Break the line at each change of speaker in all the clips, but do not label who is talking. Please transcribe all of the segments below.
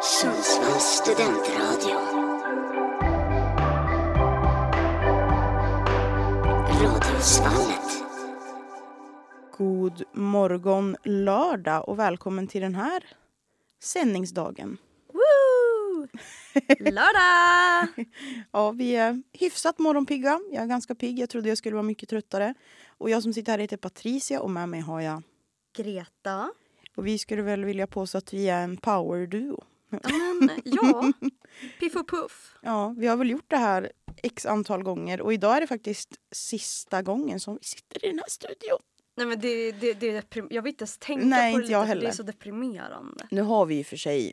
Sundsvalls studentradio. Radiosvallet.
God morgon lördag och välkommen till den här sändningsdagen.
Woo! Lördag!
Ja, vi är hyfsat morgonpigga. Jag är ganska pigg. Jag trodde jag skulle vara mycket tröttare. Och jag som sitter här heter Patricia och med mig har jag...
Greta.
Och vi skulle väl vilja påstå att vi är en powerduo.
Ja, men ja. Piff och Puff.
Ja, vi har väl gjort det här x antal gånger och idag är det faktiskt sista gången som vi sitter i den här studion.
Nej men det, det, det är deprim- Jag vill inte ens tänka
Nej,
på det
inte jag
lite, för
heller.
Det är så deprimerande.
Nu har vi ju för sig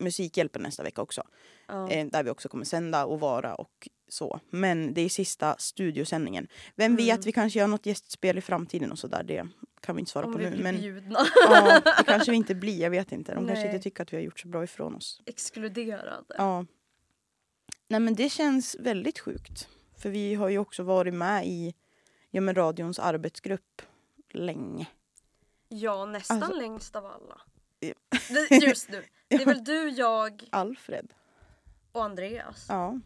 Musikhjälpen nästa vecka också.
Ja.
eh, där vi också kommer sända och vara och så. Men det är sista studiosändningen.
Mm.
Vem vet, vi kanske gör något gästspel i framtiden och sådär. Det kan vi inte svara
Om
på
vi
nu.
blir
Men
bjudna.
ja, det kanske vi inte blir, jag vet inte. De kanske
Nej.
inte tycker att vi har gjort så bra ifrån oss.
Exkluderade.
Ja. Nej men det känns väldigt sjukt. För vi har ju också varit med i ja, men radions arbetsgrupp länge.
Ja, nästan
Alltså-
längst av alla.
Ja.
Det- Just nu. Det är väl du, jag
Alfred.
och Andreas
Ja,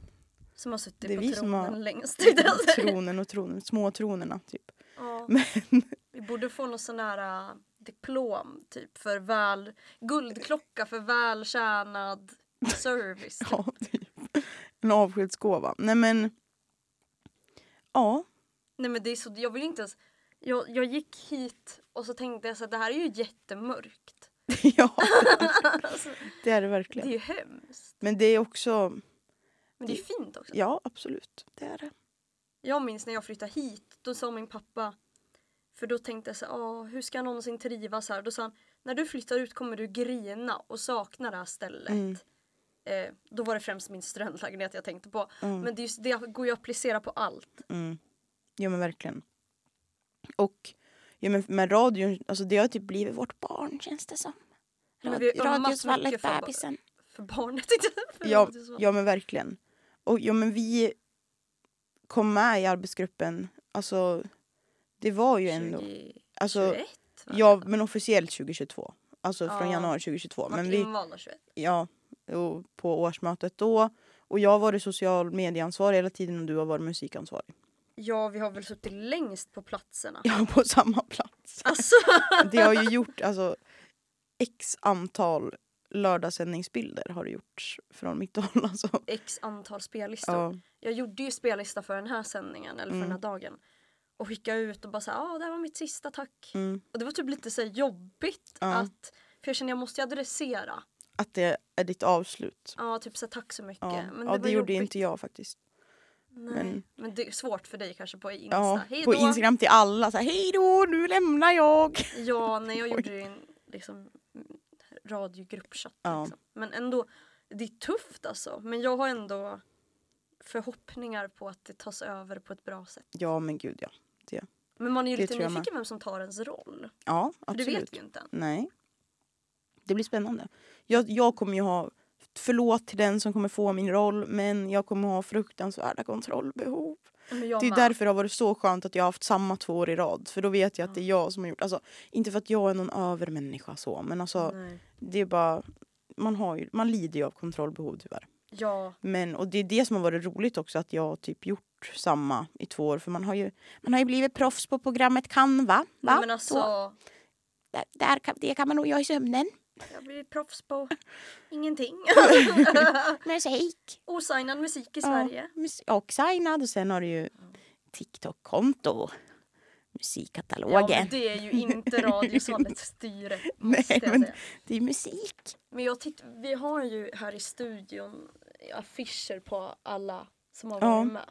som har suttit
det är
på
vi
tronen
som har-
längst. tänkte jag säga.
tronen och tronen, små tronerna typ.
Ja.
Men
Vi borde få någon sån här äh, diplom typ för väl guldklocka för vältjänad service. Typ.
Ja, typ. En avskedsgåva. Nej men... Ja.
Nej men det är så, jag vill inte ens, jag, jag gick hit och så tänkte jag så att det här är ju jättemörkt.
ja,
Alltså,
det är det
det är
verkligen.
ju hemskt.
Men det är också...
Men det är fint också.
Ja, absolut. Det är det.
Jag minns när jag flyttade hit, då sa min pappa, för då tänkte jag så här, "Åh, hur ska jag någonsin trivas här? Då sa han, när du flyttar ut kommer du grina och sakna det här stället.
Mm.
Eh, då var det främst min studentlägenhet jag tänkte på.
Mm.
Men det, är just, det går ju att applicera på allt.
Mm. Ja men verkligen. Och ja, men med radion, alltså det har typ blivit vårt barn känns det som.
Men vi har ömmat mycket för-
bebisen.
För barnet inte. För
Ja,
det är så.
ja men verkligen. Och ja men vi kom med i arbetsgruppen, alltså det var ju ändå...
20,
Alltså,
21, va?
Ja men officiellt 2022. Alltså från
Ja.
januari 2022.
Vart
Men vi,
invalda 21.
ja, och på årsmötet då. Och jag har varit social medieansvarig hela tiden och du har varit musikansvarig.
Ja, vi har väl suttit längst på platserna.
Jag på samma plats.
Alltså,
Det har ju gjort alltså x antal lördagssändningsbilder har det gjorts från mitt håll alltså.
x antal spellistor.
Ja,
Jag gjorde ju spellista för den här sändningen, eller för
Mm.
den här dagen. Och skickade ut och bara såhär, ja ah, det här var mitt sista tack.
mm.
Och det var typ lite såhär jobbigt
Ja.
att, för jag kände jag måste ju adressera.
Att det är ditt avslut.
Ja, typ såhär tack så mycket.
Ja,
Men det,
ja,
var
det gjorde
jobbigt.
inte jag faktiskt.
Nej.
men-
Men... det är svårt för dig kanske på Insta.
Ja,
Hej
på
då!
Instagram till alla så här, hej då, nu lämnar jag.
Ja, när jag gjorde ju en liksom, radiogruppchatt.
Ja.
Liksom. Men ändå, det är tufft alltså. Men jag har ändå förhoppningar på att det tas över på ett bra sätt.
Ja men gud ja.
Men man är ju
Det
lite
tror jag med.
nyfiken vem som tar ens roll.
Ja
För det
absolut.
vet vi ju inte än.
Nej. Det blir spännande. Jag, jag kommer ju ha... Förlåt till den som kommer få min roll men jag kommer ha fruktansvärda kontrollbehov.
Men jag
Det är ju
med.
därför det har varit så skönt att jag har haft samma två år i rad. För då vet jag att det är jag som har gjort... Alltså, inte för att jag är någon övermänniska så men alltså
Nej.
det är bara... Man, har ju, man lider ju av kontrollbehov tyvärr.
Ja,
Men, och det är det som har varit roligt också att jag har typ gjort samma i två år. För man har ju, man har ju blivit proffs på programmet Canva. Va?
Nej, men alltså.
Så, där, där kan, det kan man nog göra i sömnen.
Jag blir proffs på ingenting.
Musik.
Osignad musik i Sverige.
mus- Och signad och sen har du ju TikTok-konto.
Ja,
Musikkatalogen.
men det är ju inte radiosalets styre.
Nej,
måste jag
men-
säga.
det är musik.
Men jag titt- vi har ju här i studion affischer på alla som har
Ja.
varit med.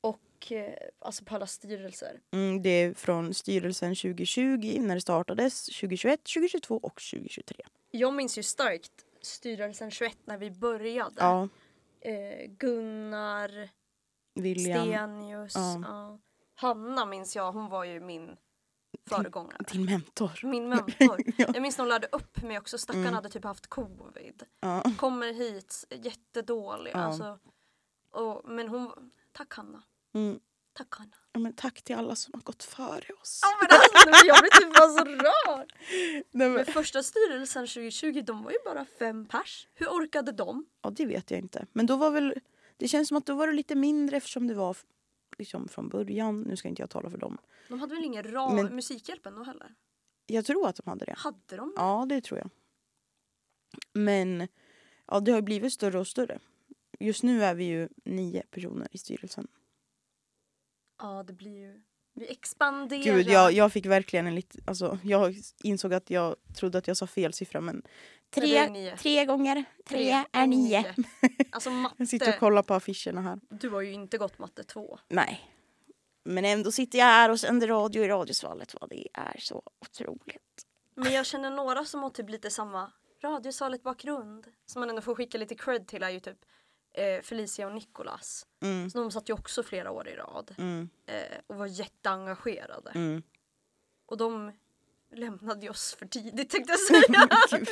Och eh, alltså på alla styrelser.
Mm, det är från styrelsen 2020 när det startades, 2021, 2022 och 2023.
Jag minns ju starkt styrelsen 21 när vi började.
Ja,
Eh, Gunnar,
William.
Stenius,
Ja.
ja. Hanna minns jag, hon var ju min föregångare.
Din mentor.
Min mentor.
Ja.
Jag minns när hon lärde upp mig också, stackaren
Mm.
hade typ haft covid.
Ja.
Kommer hit jättedålig.
Ja.
Alltså, och, men hon, tack Hanna,
Mm.
tack Hanna.
Ja, men tack till alla som har gått före oss.
Ja, men alltså, nej, men jag blir typ bara så rörd.
Nej, men,
Men första styrelsen 2020, de var ju bara fem pers. Hur orkade de?
ja, det vet jag inte. Men då var väl... Det känns som att då var det lite mindre eftersom det var f- liksom från början. Nu ska inte jag tala för dem.
De hade väl ingen ram,
Men-
Musikhjälpen då heller?
Jag tror att de hade det.
Hade de?
Ja, det tror jag. Men ja, det har ju blivit större och större. Just nu är vi ju nio personer i styrelsen.
Ja, det blir ju... Vi expanderar.
Gud, jag, jag fick verkligen en liten... Alltså, jag insåg att jag trodde att jag sa fel siffra, men...
Nej, det är nio.
tre gånger
Alltså
Jag sitter
matte,
och kollar på affischerna här.
du har ju inte gått matte 2.
Nej. Men ändå sitter jag här och sänder radio i Radiosvallet. Vad det är så otroligt.
Men jag känner några som har typ lite samma radiosalet bakgrund. Som man ändå får skicka lite cred till är ju typ eh, Felicia och Nicolas.
Mm,
Så de satt ju också flera år i rad
mm,
eh, och var jätteengagerade.
mm.
Och de lämnade ju oss för tidigt tänkte jag säga.
Gud.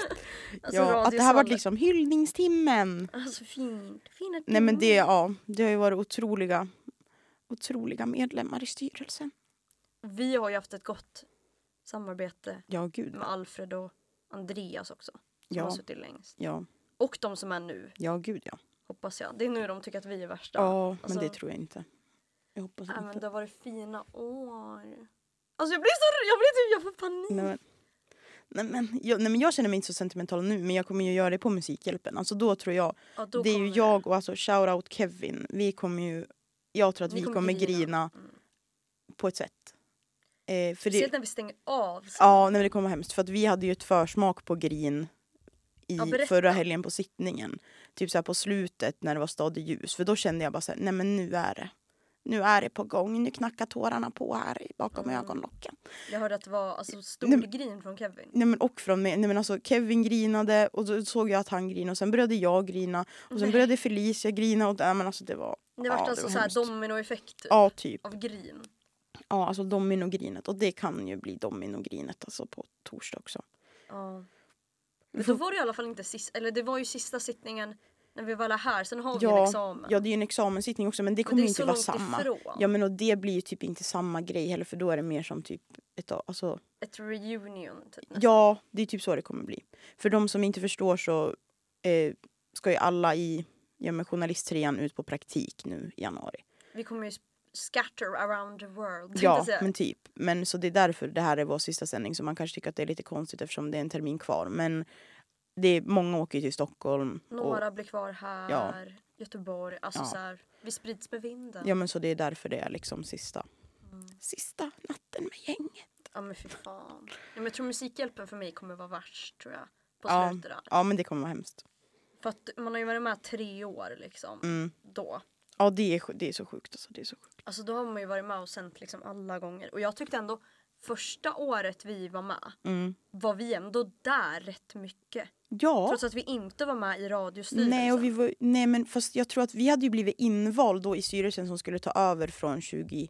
Alltså,
Ja, att det här var
radiosalet.
liksom hyllningstimmen.
Alltså fint. fint
Nej men det, ja, det har ju varit otroliga, otroliga medlemmar i styrelsen.
Vi har ju haft ett gott samarbete
Ja gud.
med Alfred och Andreas också. Som har
Ja,
suttit längst.
ja,
Och de som är nu,
ja gud ja.
hoppas jag. Det är nu de tycker att vi är värsta.
Ja men
Alltså-
det tror jag inte. Jag hoppas
Nej, men
inte.
det har varit fina år. Alltså jag blir så jag blir typ, jag får panik.
Nej men, nej, men, jag, nej men jag känner mig inte så sentimental nu men jag kommer ju göra det på Musikhjälpen. Alltså då tror jag
ja, då
det är
kommer
ju
det.
jag och alltså shoutout Kevin. Vi kommer ju, jag tror att
Ni
vi kommer grina,
Mm.
på ett sätt. Eh, för det,
Speciellt när vi stänger av. sen.
ja, nej, men det kommer vara hemskt för att vi hade ju ett försmak på grin i
Ja, berätta.
förra helgen på sittningen. Typ så här på slutet när det var stadigt ljus för då kände jag bara så här, nej men nu är det. Nu är det på gång, nu knackar tårarna på här i- bakom
Mm.
ögonlocken.
Jag hörde att det var alltså,
Nej,
stor
men-
grin från Kevin.
Nej men och från mig, nej men alltså Kevin grinade och då såg jag att han grinade och sen började jag grina och sen
Nej.
började Felicia grina och nej men alltså det var,
Det vart
Ja, det
alltså
var
så här
hemskt.
dominoeffekt typ,
ja typ.
av grin.
Ja, alltså dominogrinet. Och det kan ju bli dominogrinet alltså på torsdag också.
Ja. Men då var det i alla fall inte sista, eller det var ju sista sittningen när vi var alla här. Sen har vi liksom en
Ja,
examen.
ja, det är ju en examenssittning också men det
men
kommer
det är
ju
så
inte vara
långt
samma.
ifrån.
Ja men och det blir ju typ inte samma grej heller för då är det mer som typ ett a- alltså,
Ett reunion typ. nästan.
Ja, det är typ så det kommer bli. För de som inte förstår så eh, ska ju alla i ja, men journalisttrean ut på praktik nu i januari.
Vi kommer ju scatter around the world. tänkte
Ja,
jag säga.
men typ. Men så det är därför det här är vår sista sändning så man kanske tycker att det är lite konstigt eftersom det är en termin kvar. Men det är, många åker ju till Stockholm. och-
Några blir kvar här.
Ja.
Göteborg. Alltså
Ja.
så här, vi sprids med vinden.
Ja men så det är därför det är liksom sista.
Mm.
Sista natten med gänget.
Ja men fy fan. Ja, men jag tror Musikhjälpen för mig kommer vara värst tror jag. På
Ja,
slutet där.
ja men det kommer vara hemskt.
För att man har ju varit med tre år liksom.
Mm.
Då.
Ja det är, sj- det är så sjukt alltså. Det är så sjukt.
Alltså då har man ju varit med och sänt liksom alla gånger. Och jag tyckte ändå första året vi var med
Mm.
var vi ändå där rätt mycket.
Ja.
Trots att vi inte var med i liksom. radiostyrelsen.
Nej, och vi var, nej men fast jag tror att vi hade ju blivit invald då i styrelsen som skulle ta över från 2022.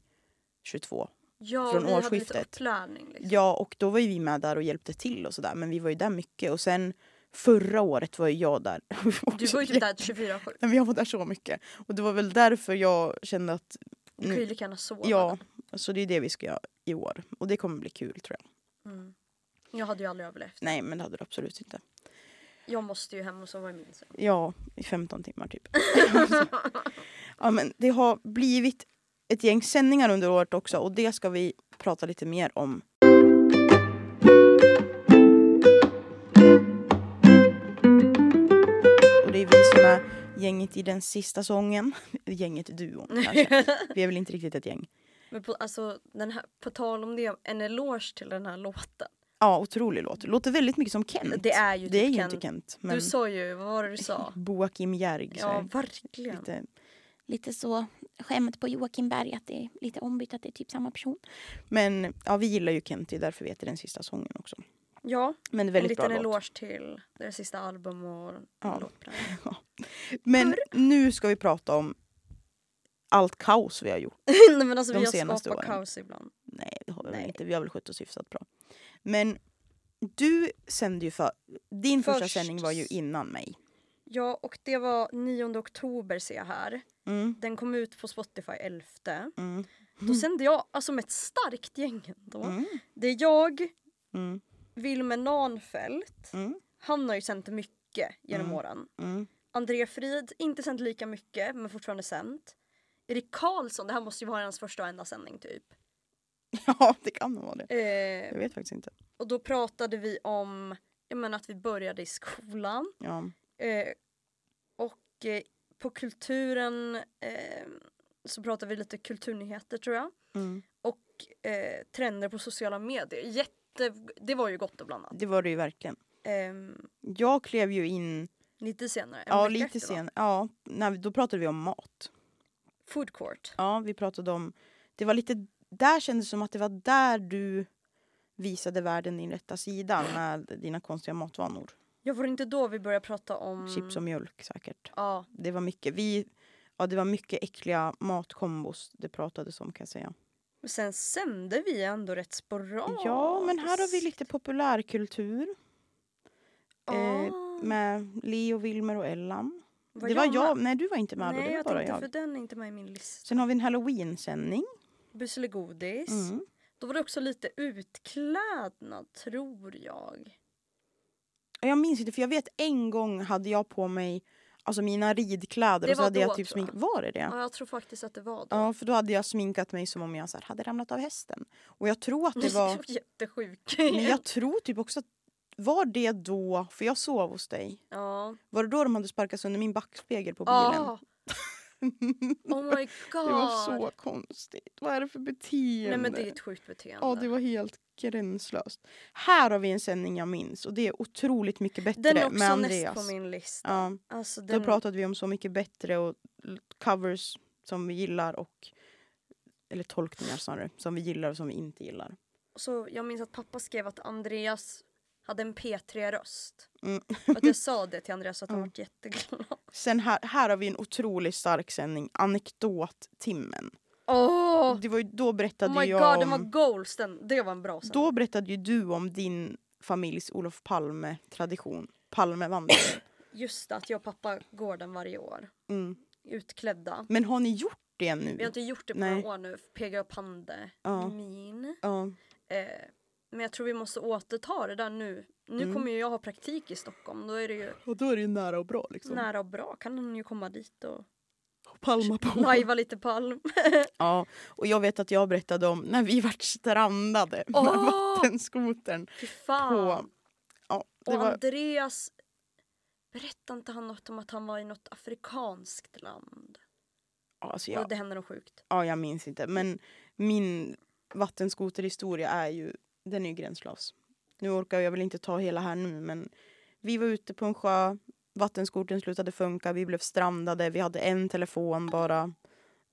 ja, och
från
vi Hade lite
årsskiftet.
upplärning, liksom.
Ja och då var ju vi med där och hjälpte till och sådär men vi var ju där mycket och sen förra året var ju jag där.
Du var ju typ där 24-7.
Nej, men jag var där så mycket. Och det var väl därför jag kände att
Du kan ju
Mm.
lika gärna sova.
ja, så det är det vi ska göra i år. Och det kommer bli kul tror jag.
Mm. Jag hade ju aldrig överlevt.
Nej men det hade du absolut inte.
Jag måste ju hem och sova i min säng.
Ja, i 15 timmar typ. ja, men det har blivit ett gäng sändningar under året också och det ska vi prata lite mer om. Och det är vi som är gänget i den sista sången. Gänget duon kanske. Vi är väl inte riktigt ett gäng.
Men på, alltså, den här, på tal om det, en eloge till den här låten.
Ja, otrolig låt. Låter väldigt mycket som Kent.
Det är ju
det är
typ
ju
Kent.
inte Kent. Men
Du sa ju, vad var det du sa?
Boakim Järg. så
ja,
är
verkligen.
lite,
lite så skämt på Joakim Berg att det är lite ombytt att det är typ samma person.
Men ja, vi gillar ju Kent, det är därför vi heter den sista sången också.
Ja,
Men det är
en
väldigt bra
liten
låt.
eloge till deras sista album och
Ja.
låtplan.
Men nu ska vi prata om allt kaos vi har gjort.
Nej men alltså
De
vi har
senaste
skapat
åren.
kaos ibland.
Nej, det har vi
Nej.
väl inte. Vi har väl skött oss hyfsat bra. Men du sände ju för... Din första
Först.
sändning var ju innan mig.
Ja och det var 9 oktober ser jag här.
Mm,
Den kom ut på Spotify 11.
mm,
Då sände jag alltså med ett starkt gäng då.
Mm.
Det är jag,
Mm.
Wilmer Nahnfeldt.
Mm.
Han har ju sänt mycket genom
Mm.
åren.
Mm.
André Frid, inte sänt lika mycket men fortfarande sänt. Erik Karlsson, det här måste ju vara hans första och enda sändning typ.
Ja, det kan nog vara det.
Eh,
Jag vet faktiskt inte.
och då pratade vi om jag menar, att vi började i skolan.
Ja.
Eh, och eh, på kulturen eh, så pratar vi lite kulturnyheter tror jag.
Mm.
Och eh, trender på sociala medier. Jätte, det var ju gott och blandat.
Det var det ju verkligen.
Ehm,
Jag klev ju in,
lite senare. en
ja
vecka
lite
efter, va?
sen, ja, när, vi- då pratade vi om mat.
Food court.
Ja, vi pratade om, det var lite, där kändes det som att det var där du visade världen din rätta sida med dina konstiga matvanor.
Jag var det inte då vi började prata om...
Chips och mjölk säkert.
Ja,
Det var mycket, vi, ja det var mycket äckliga matkombos det pratades om kan jag säga.
men sen sände vi ändå rätt sporadiskt.
Ja, men här har vi lite populärkultur
Ja.
eh, med Leo, Wilmer och Ellen. det
jag
var
med?
jag, nej du var inte med då,
Nej,
det var
jag
bara
tänkte
jag.
för den är inte med i min lista.
Sen har vi en halloween-sändning.
Busselegodis.
Mm.
Då var det också lite utklädnad, tror jag.
Jag minns inte för jag vet en gång hade jag på mig alltså mina ridkläder
Det
och så
var
hade jag
då,
typ
tror jag.
smink... Var det det?
Ja, jag tror faktiskt att det var då.
Ja, för då hade jag sminkat mig som om jag så här, hade ramlat av hästen. Och jag tror att
Du
det var...
såg jättesjuk
Men
ut.
jag tror typ också att... Var det då, för jag sov hos dig.
Ja.
Var det då de hade sparkat sönder min backspegel på bilen?
Ah. Oh my god.
Det var så konstigt. Vad är det för beteende?
Nej men det är ett sjukt beteende.
Ja, det var helt gränslöst. Här har vi en sändning jag minns och det är otroligt mycket bättre
Den är också
med
näst
Andreas.
på min lista.
Ja.
Alltså,
Då
den...
pratade vi om Så mycket bättre och l- covers som vi gillar och eller tolkningar snarare, som vi gillar och som vi inte gillar.
så jag minns att pappa skrev att Andreas hade en P3-röst.
Mm.
Och att jag sa det till Andreas att han
Ja.
vart jätteglad.
Sen här, här har vi en otroligt stark sändning, Anekdottimmen.
Åh!
Det var ju, då berättade
Oh my
jag
god,
om,
den var goals den. Det var en bra sändning.
Då berättade ju du om din familjs Olof Palme-tradition, Palmevandringen.
Just det, att jag och pappa går den varje år.
Mm.
Utklädda.
Men har ni gjort det nu?
Vi har inte gjort det på
Nej.
några år nu. PGA Pande,
Ja.
min.
Ja.
Eh, men jag tror vi måste återta det där nu. Nu
Mm.
kommer ju jag ha praktik i Stockholm. Då är det ju
Och då är det ju nära och bra liksom.
nära och bra. Kan han ju komma dit och
Palma på.
lajva lite palm.
Ja, och jag vet att jag berättade om när vi vart strandade med
Åh!
vattenskotern.
Fy
På,
fan.
ja, det
och
var,
Andreas. Berättade inte han något om att han var i något afrikanskt land?
ja, alltså
Och
jag,
det hände något sjukt.
ja, jag minns inte. Men min vattenskoterhistoria är ju, den är ju gränslös. Nu orkar jag väl inte ta hela här nu men vi var ute på en sjö, vattenskotern slutade funka, vi blev strandade, vi hade en telefon bara.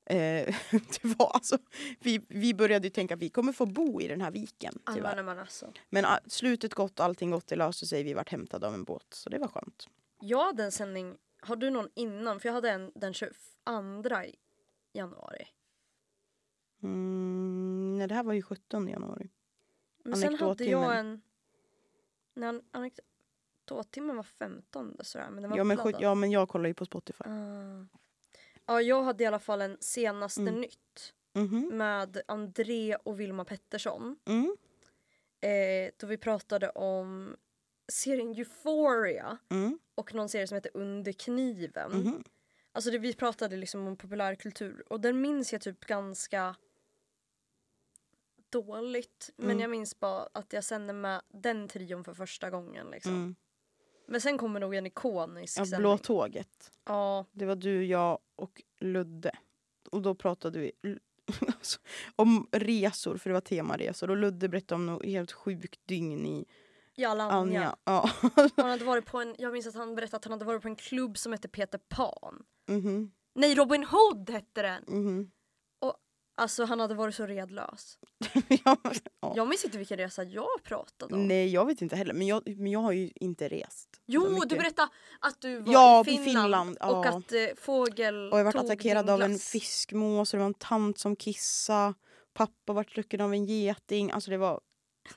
Eh, det var alltså, vi, vi började ju tänka att vi kommer få bo i den här viken tyvärr.
Anna, när man alltså.
Men ah, slutet gott, allting gott, det löste sig. Vi vart hämtade av en båt, så det var skönt.
Jag hade en sändning, har du någon innan? För jag hade en den 22 januari.
Mm, nej, det här var ju 17 januari.
Men sen hade jag
Anekdottimmen.
en... Nej, an- anekdottimmen var 15 sådär, men den var
Ja men, sjut-
uppladdad.
ja, men jag kollar ju på Spotify.
Ah. Ja, jag hade i alla fall en senaste
Mm.
nytt
Mhm.
med André och Vilma Pettersson.
Mm.
Eh, då vi pratade om serien Euphoria
Mm.
och någon serie som heter Under kniven.
Mhm.
Alltså det, vi pratade liksom om populärkultur och den minns jag typ ganska dåligt. Men
Mm.
jag minns bara att jag sände med den trion för första gången. Liksom.
Mm.
Men sen kommer nog en ikonisk
Ja,
sändning.
Blå tåget.
Ja,
Det var du, jag och Ludde. Och då pratade vi l- alltså, om resor, för det var temaresor. Och Ludde berättade om något helt sjukt dygn i
Jalla Anja.
Anja. Ja.
Han hade varit på en, jag minns att han berättade att han hade varit på en klubb som hette Peter Pan.
Mhm.
Nej, Robin Hood hette den!
Mhm.
Alltså han hade varit så redlös.
ja. ja.
Jag minns inte vilken resa jag pratade om.
Nej, jag vet inte heller. Men jag, men jag har ju inte rest. så
Jo,
mycket.
du berättade att du var
Ja,
i
på
Finland,
Finland, ja.
och att eh, fågel
Och jag varit
tog
attackerad
din
av en
glass.
fiskmås och det var en tant som kissade. Pappa vart strucken av en geting. Alltså det var...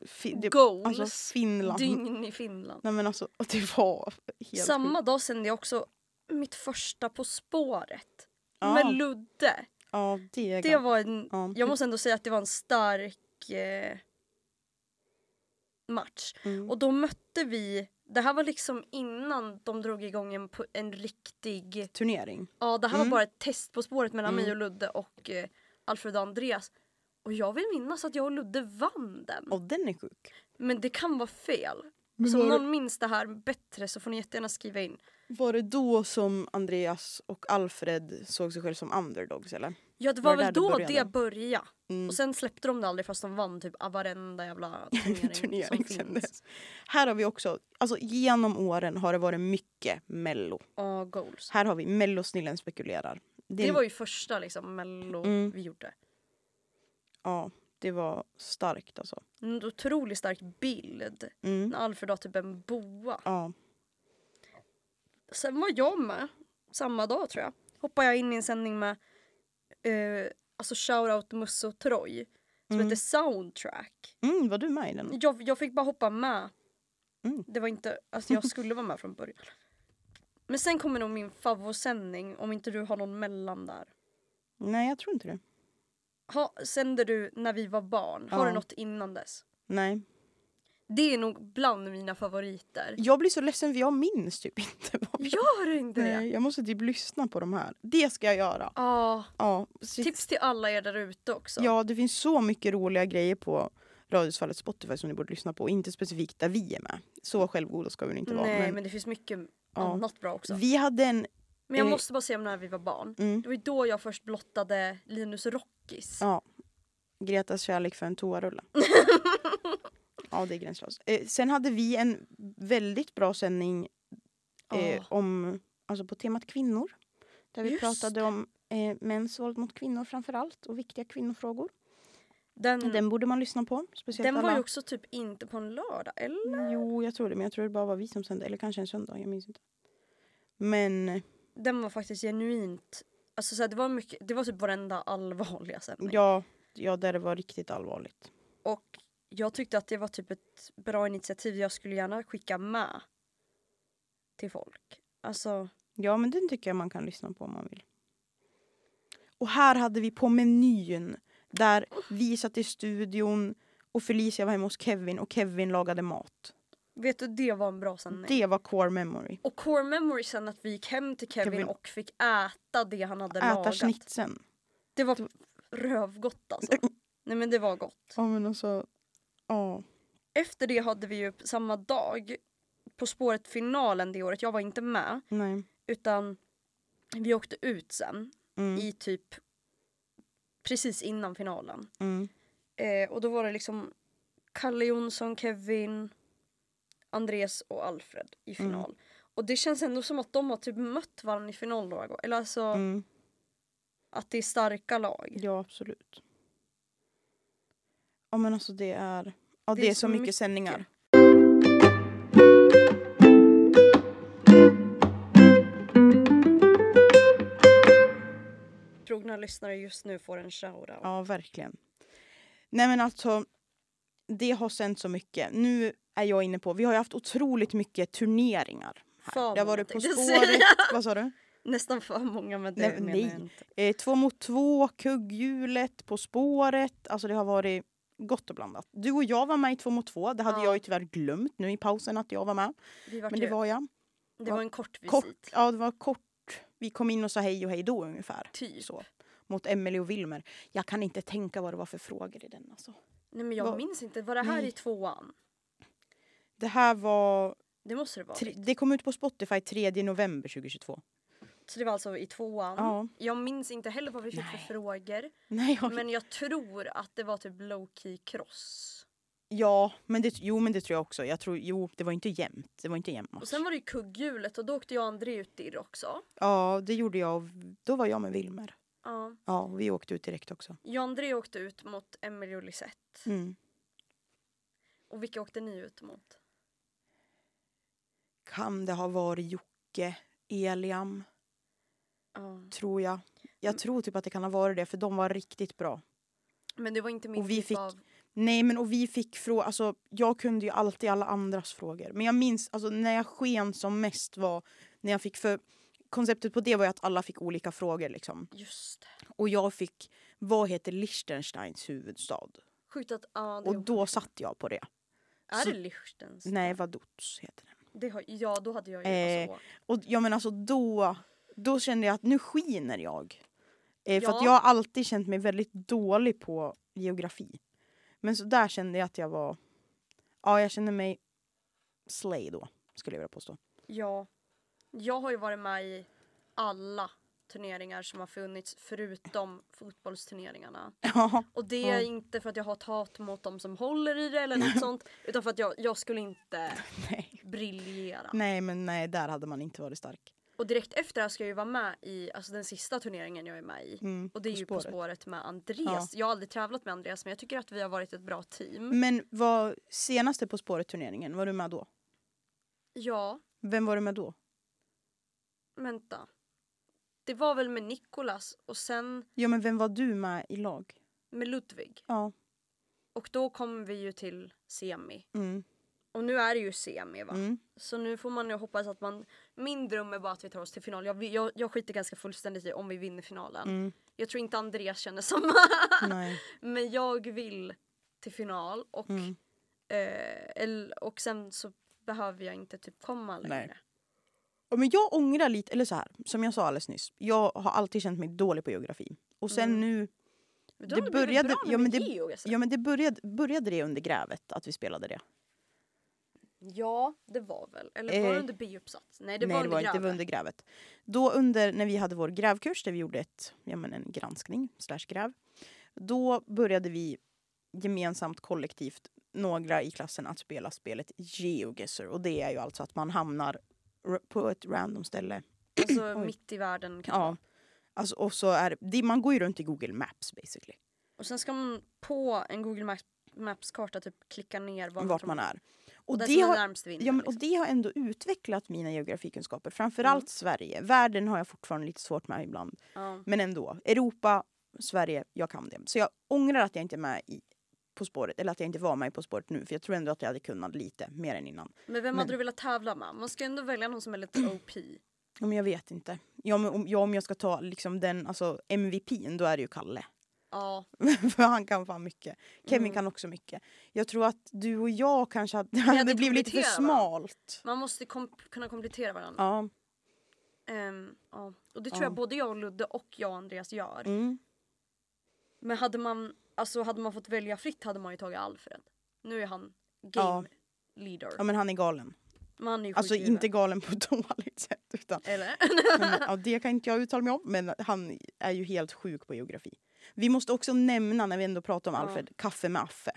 Fi, det,
Goals.
alltså Finland.
Dygn i Finland.
Nej men alltså och det var helt
Samma
sjukt.
dag sände jag också mitt första På spåret.
Ja.
Med Ludde.
Ja, det är
Det var en,
Ja.
jag måste ändå säga att det var en stark eh, match.
Mm.
Och då mötte vi, det här var liksom innan de drog igång en, po- en riktig,
Turnering.
ja det här
Mm.
var bara ett test på spåret mellan
Mm.
mig och Ludde och eh, Alfred och Andreas. Och jag vill minnas att jag och Ludde vann den.
Och den är sjuk.
Men det kan vara fel. Så om någon minns det här bättre så får ni jättegärna skriva in.
Var det då som Andreas och Alfred såg sig själv som underdogs eller?
Ja det
Var
var,
det
väl
där det
då
började?
det började.
Mm.
Och sen släppte de det aldrig fast de vann typ varenda jävla turnering,
Turnering
som
sen
finns.
dess. Här har vi också, alltså genom åren har det varit mycket mello.
Ja, goals.
Här har vi mellosnillen spekulerar.
Det,
är en-
var ju första liksom mello
Mm.
vi gjorde.
Ja, det var starkt alltså.
En otroligt stark bild.
Mm.
När Alfred har typ en boa.
Ja.
Sen var jag med, samma dag tror jag. Hoppade jag in i en sändning med eh, alltså shoutout Musse och Troy. Som
Mm.
hette Soundtrack.
Mm, var du med i den?
Jag, jag fick bara hoppa med.
Mm.
Det var inte, alltså jag skulle vara med från början. Men sen kommer nog min favvosändning om inte du har någon mellan där.
Nej, jag tror inte det.
Ha, sänder du när vi var barn? Har
Ja.
du något innan dess?
Nej.
Det är nog bland mina favoriter.
Jag blir så ledsen för jag minns typ inte. Vad jag...
Gör du inte det?
Nej, jag måste typ lyssna på de här. Det ska jag göra.
Ja,
Ja, shit.
tips till alla er där ute också.
ja det finns så mycket roliga grejer på Radhusfallet Spotify som ni borde lyssna på. Inte specifikt där vi är med. Så självgoda ska vi inte vara.
Nej,
men-
men... det finns mycket
Ja.
annat bra också.
Vi hade en...
Men jag
eh,
måste bara säga om när vi var barn.
Mm,
Det var ju då jag först blottade Linus Rockis.
Ja. Gretas kärlek för en toarulle. ja, det är gränslöst. Eh, sen hade vi en väldigt bra sändning eh,
Ja.
om, alltså på temat kvinnor. Där vi
Just
pratade om eh, mäns våld mot kvinnor framför allt och viktiga kvinnofrågor.
Den, den,
Den borde man lyssna på. Speciellt
Mm. var
alla.
ju också typ inte på en lördag, eller?
Jo, jag tror det. Men jag tror det bara var vi som sände. Eller kanske en söndag, jag minns inte. Men
Den var faktiskt genuint... Alltså så här, det, var mycket, det var typ varenda allvarliga sändning.
ja, ja, där det var riktigt allvarligt.
Och jag tyckte att det var typ ett bra initiativ jag skulle gärna skicka med till folk. Alltså,
Ja, men den tycker jag man kan lyssna på om man vill. Och här hade vi på menyn där vi satt i studion och Felicia var hemma hos Kevin och Kevin lagade mat.
vet du, det var en bra sändning.
Det var core memory.
Och core memory sen att vi gick hem till Kevin,
Kevin.
och fick äta det han hade
Äta
lagat.
schnitzeln.
Det var Typ rövgott alltså.
Mm.
Nej men det var gott.
Ja, men alltså. Ja.
Efter det hade vi ju samma dag På spåret-finalen det året, jag var inte med.
Nej.
Utan vi åkte ut sen
Mm,
i typ precis innan finalen.
mm.
Eh, och då var det liksom Kalle Jonsson, Kevin, Andres och Alfred i
Mm.
final. Och det känns ändå som att de har typ mött varandra i final några gånger. Eller alltså
Mm.
att det är starka lag.
Ja, absolut. Ja, men alltså det är... Ja, det, är så mycket, sändningar.
Trogna lyssnare just nu får en shoutout.
Ja, verkligen. Nej, men alltså... Det har sänt så mycket. Nu är jag inne på... Vi har ju haft otroligt mycket turneringar. Här.
Fan,
Det har varit
vad
På
jag tänkte säga.
spåret... Vad sa du?
Nästan för många men det
Nej,
menar
nej.
jag inte.
Eh, två mot två, Kugghjulet, På spåret. Alltså det har varit gott och blandat. Du och jag var med i Två mot två. Det hade
Ja.
jag ju tyvärr glömt nu i pausen att jag var med.
Vi vart
Men det
ju-
var jag.
det var en kort visit.
Kort, ja, det var kort. Vi kom in och sa hej och hej då ungefär.
Typ.
Så. Mot Emily och Wilmer. Jag kan inte tänka vad det var för frågor i den. Alltså.
Nej men jag
Vad-
minns inte, var det här
Nej.
i tvåan?
Det här var...
Det måste det vara.
Tre, det kom ut på Spotify 3 november 2022.
Så det var alltså i tvåan.
Ja.
Jag minns inte heller vad vi fick
Nej.
för frågor.
Nej, jag,
Men jag tror att det var typ low key cross.
Ja, men det, jo men det tror jag också. Jag tror, jo, det var inte jämnt. Det var inte jämnt.
Och sen var det ju kugghjulet och då åkte jag och André ut dirr också.
Ja, det gjorde jag. och Då var jag med Wilmer.
Ja.
Ja, och vi åkte ut direkt också.
Jag och André åkte ut mot Emelie och Lisette.
Mm.
Och vilka åkte ni ut mot?
Kan det ha varit Jocke, Eliam,
Ja.
tror jag.
Mm.
Jag tror typ att det kan ha varit det, för de var riktigt bra.
Men det var inte min
Och vi
typ
fick-
av...
Nej men och vi fick frågor, alltså jag kunde ju alltid alla andras frågor. Men jag minns, alltså när jag sken som mest var när jag fick för konceptet på det var ju att alla fick olika frågor liksom.
Just det.
Och jag fick, vad heter Liechtensteins huvudstad?
Sjukt att, ja det är
Och då satt jag på det.
Är
så-
det Lichtens?
Nej, Vaduz heter den.
Det har, ja då hade jag ju
Eh,
alltså,
Och ja men alltså då, då kände jag att nu skiner jag. Eh, För att
Ja.
jag har alltid känt mig väldigt dålig på geografi. Men så där kände jag att jag var, ja jag kände mig slay då skulle jag vilja påstå.
Ja. Jag har ju varit med i alla turneringar som har funnits förutom fotbollsturneringarna.
Ja,
Och det är
Ja.
inte för att jag har ett hat mot de som håller i det eller något sånt utan för att jag, jag skulle inte
nej.
briljera.
Nej men nej, där hade man inte varit stark.
Och direkt efter det här ska jag ju vara med i alltså den sista turneringen jag är med i.
Mm,
Och det är
På
ju På
spåret.
spåret med
Ja.
Andreas. Jag har aldrig tävlat med Andreas men jag tycker att vi har varit ett bra team.
Men var senaste På spåret-turneringen, var du med då?
Ja,
Vem var du med då?
vänta. Det var väl med Nikolas och sen
Ja men vem var du med i lag?
med Ludvig.
Ja.
Och då kom vi ju till semi.
Mm.
Och nu är det ju semi va.
Mm.
Så nu får man ju hoppas att man... Min dröm är bara att vi tar oss till final. Jag, vi- jag, jag skiter ganska fullständigt i om vi vinner finalen.
Mm.
Jag tror inte Andreas känner samma.
Nej.
Men jag vill till final och,
Mm.
eh, el- och sen så behöver jag inte typ komma längre.
Nej. Ja, Men jag ångrar lite, eller så här, som jag sa alldeles nyss. Jag har alltid känt mig dålig på geografi. Och sen
Mm.
nu,
Men då
Det
har det började...
började-
Bra med
ja, men
min
det-
geo, alltså.
ja men det började, började det under grävet att vi spelade det?
ja, det var väl. Eller var det
Eh,
under biuppsats? Nej, det
Nej
var
det
under
var inte, det var
grabbar.
under grävet. Då under, när vi hade vår grävkurs där vi gjorde ett, ja, men en granskning, slash gräv. Då började vi gemensamt kollektivt, några i klassen, att spela spelet GeoGuessr. Och det är ju alltså att man hamnar r- på ett random ställe.
Alltså
Oj.
mitt i världen. Kan
Ja. Alltså, och så är det, man går ju runt i Google Maps basically.
Och sen ska man på en Google Map- Maps-karta typ klicka ner var
vart
tror-
man är.
Och
Och
den
det,
som är
har,
närmst vinner.
ja, men,
liksom. Mm.
och det har ändå utvecklat mina geografikunskaper. Framförallt Sverige. Världen har jag fortfarande lite svårt med ibland.
ja.
Men ändå. Europa, Sverige, jag kan det. Så jag ångrar att jag inte är med i På spåret. Eller att jag inte var med i På spåret nu. För jag tror ändå att jag hade kunnat lite mer än innan.
Men vem
men-
hade du velat tävla med? Man ska ju ändå välja någon som är lite OP.
Ja, men jag vet inte. Ja, men om, ja, om jag ska ta liksom den alltså, MVPn då är det ju Kalle.
Ja,
För han kan fan mycket. Kevin
Mm.
kan också mycket. Jag tror att du och jag kanske hade... Det
inte
hade blivit lite för
kompletterat varandra.
smalt.
man måste kom- kunna komplettera varandra.
Ja.
Ehm, ja. Och det tror
Ja.
jag både jag och Ludde och jag och Andreas gör.
Mm.
Men hade man, alltså, hade man fått välja fritt hade man ju tagit Alfred. Nu är han
Ja.
game leader.
ja, men han är galen.
Men han är ju
Alltså
sjuk i huvudet.
inte galen på ett dåligt sätt. Utan,
Eller?
men, ja, det kan inte jag uttala mig om, men han är ju helt sjuk på geografi. Vi måste också nämna, när vi ändå pratar om
Ja.
Alfred, Kaffe med Affe.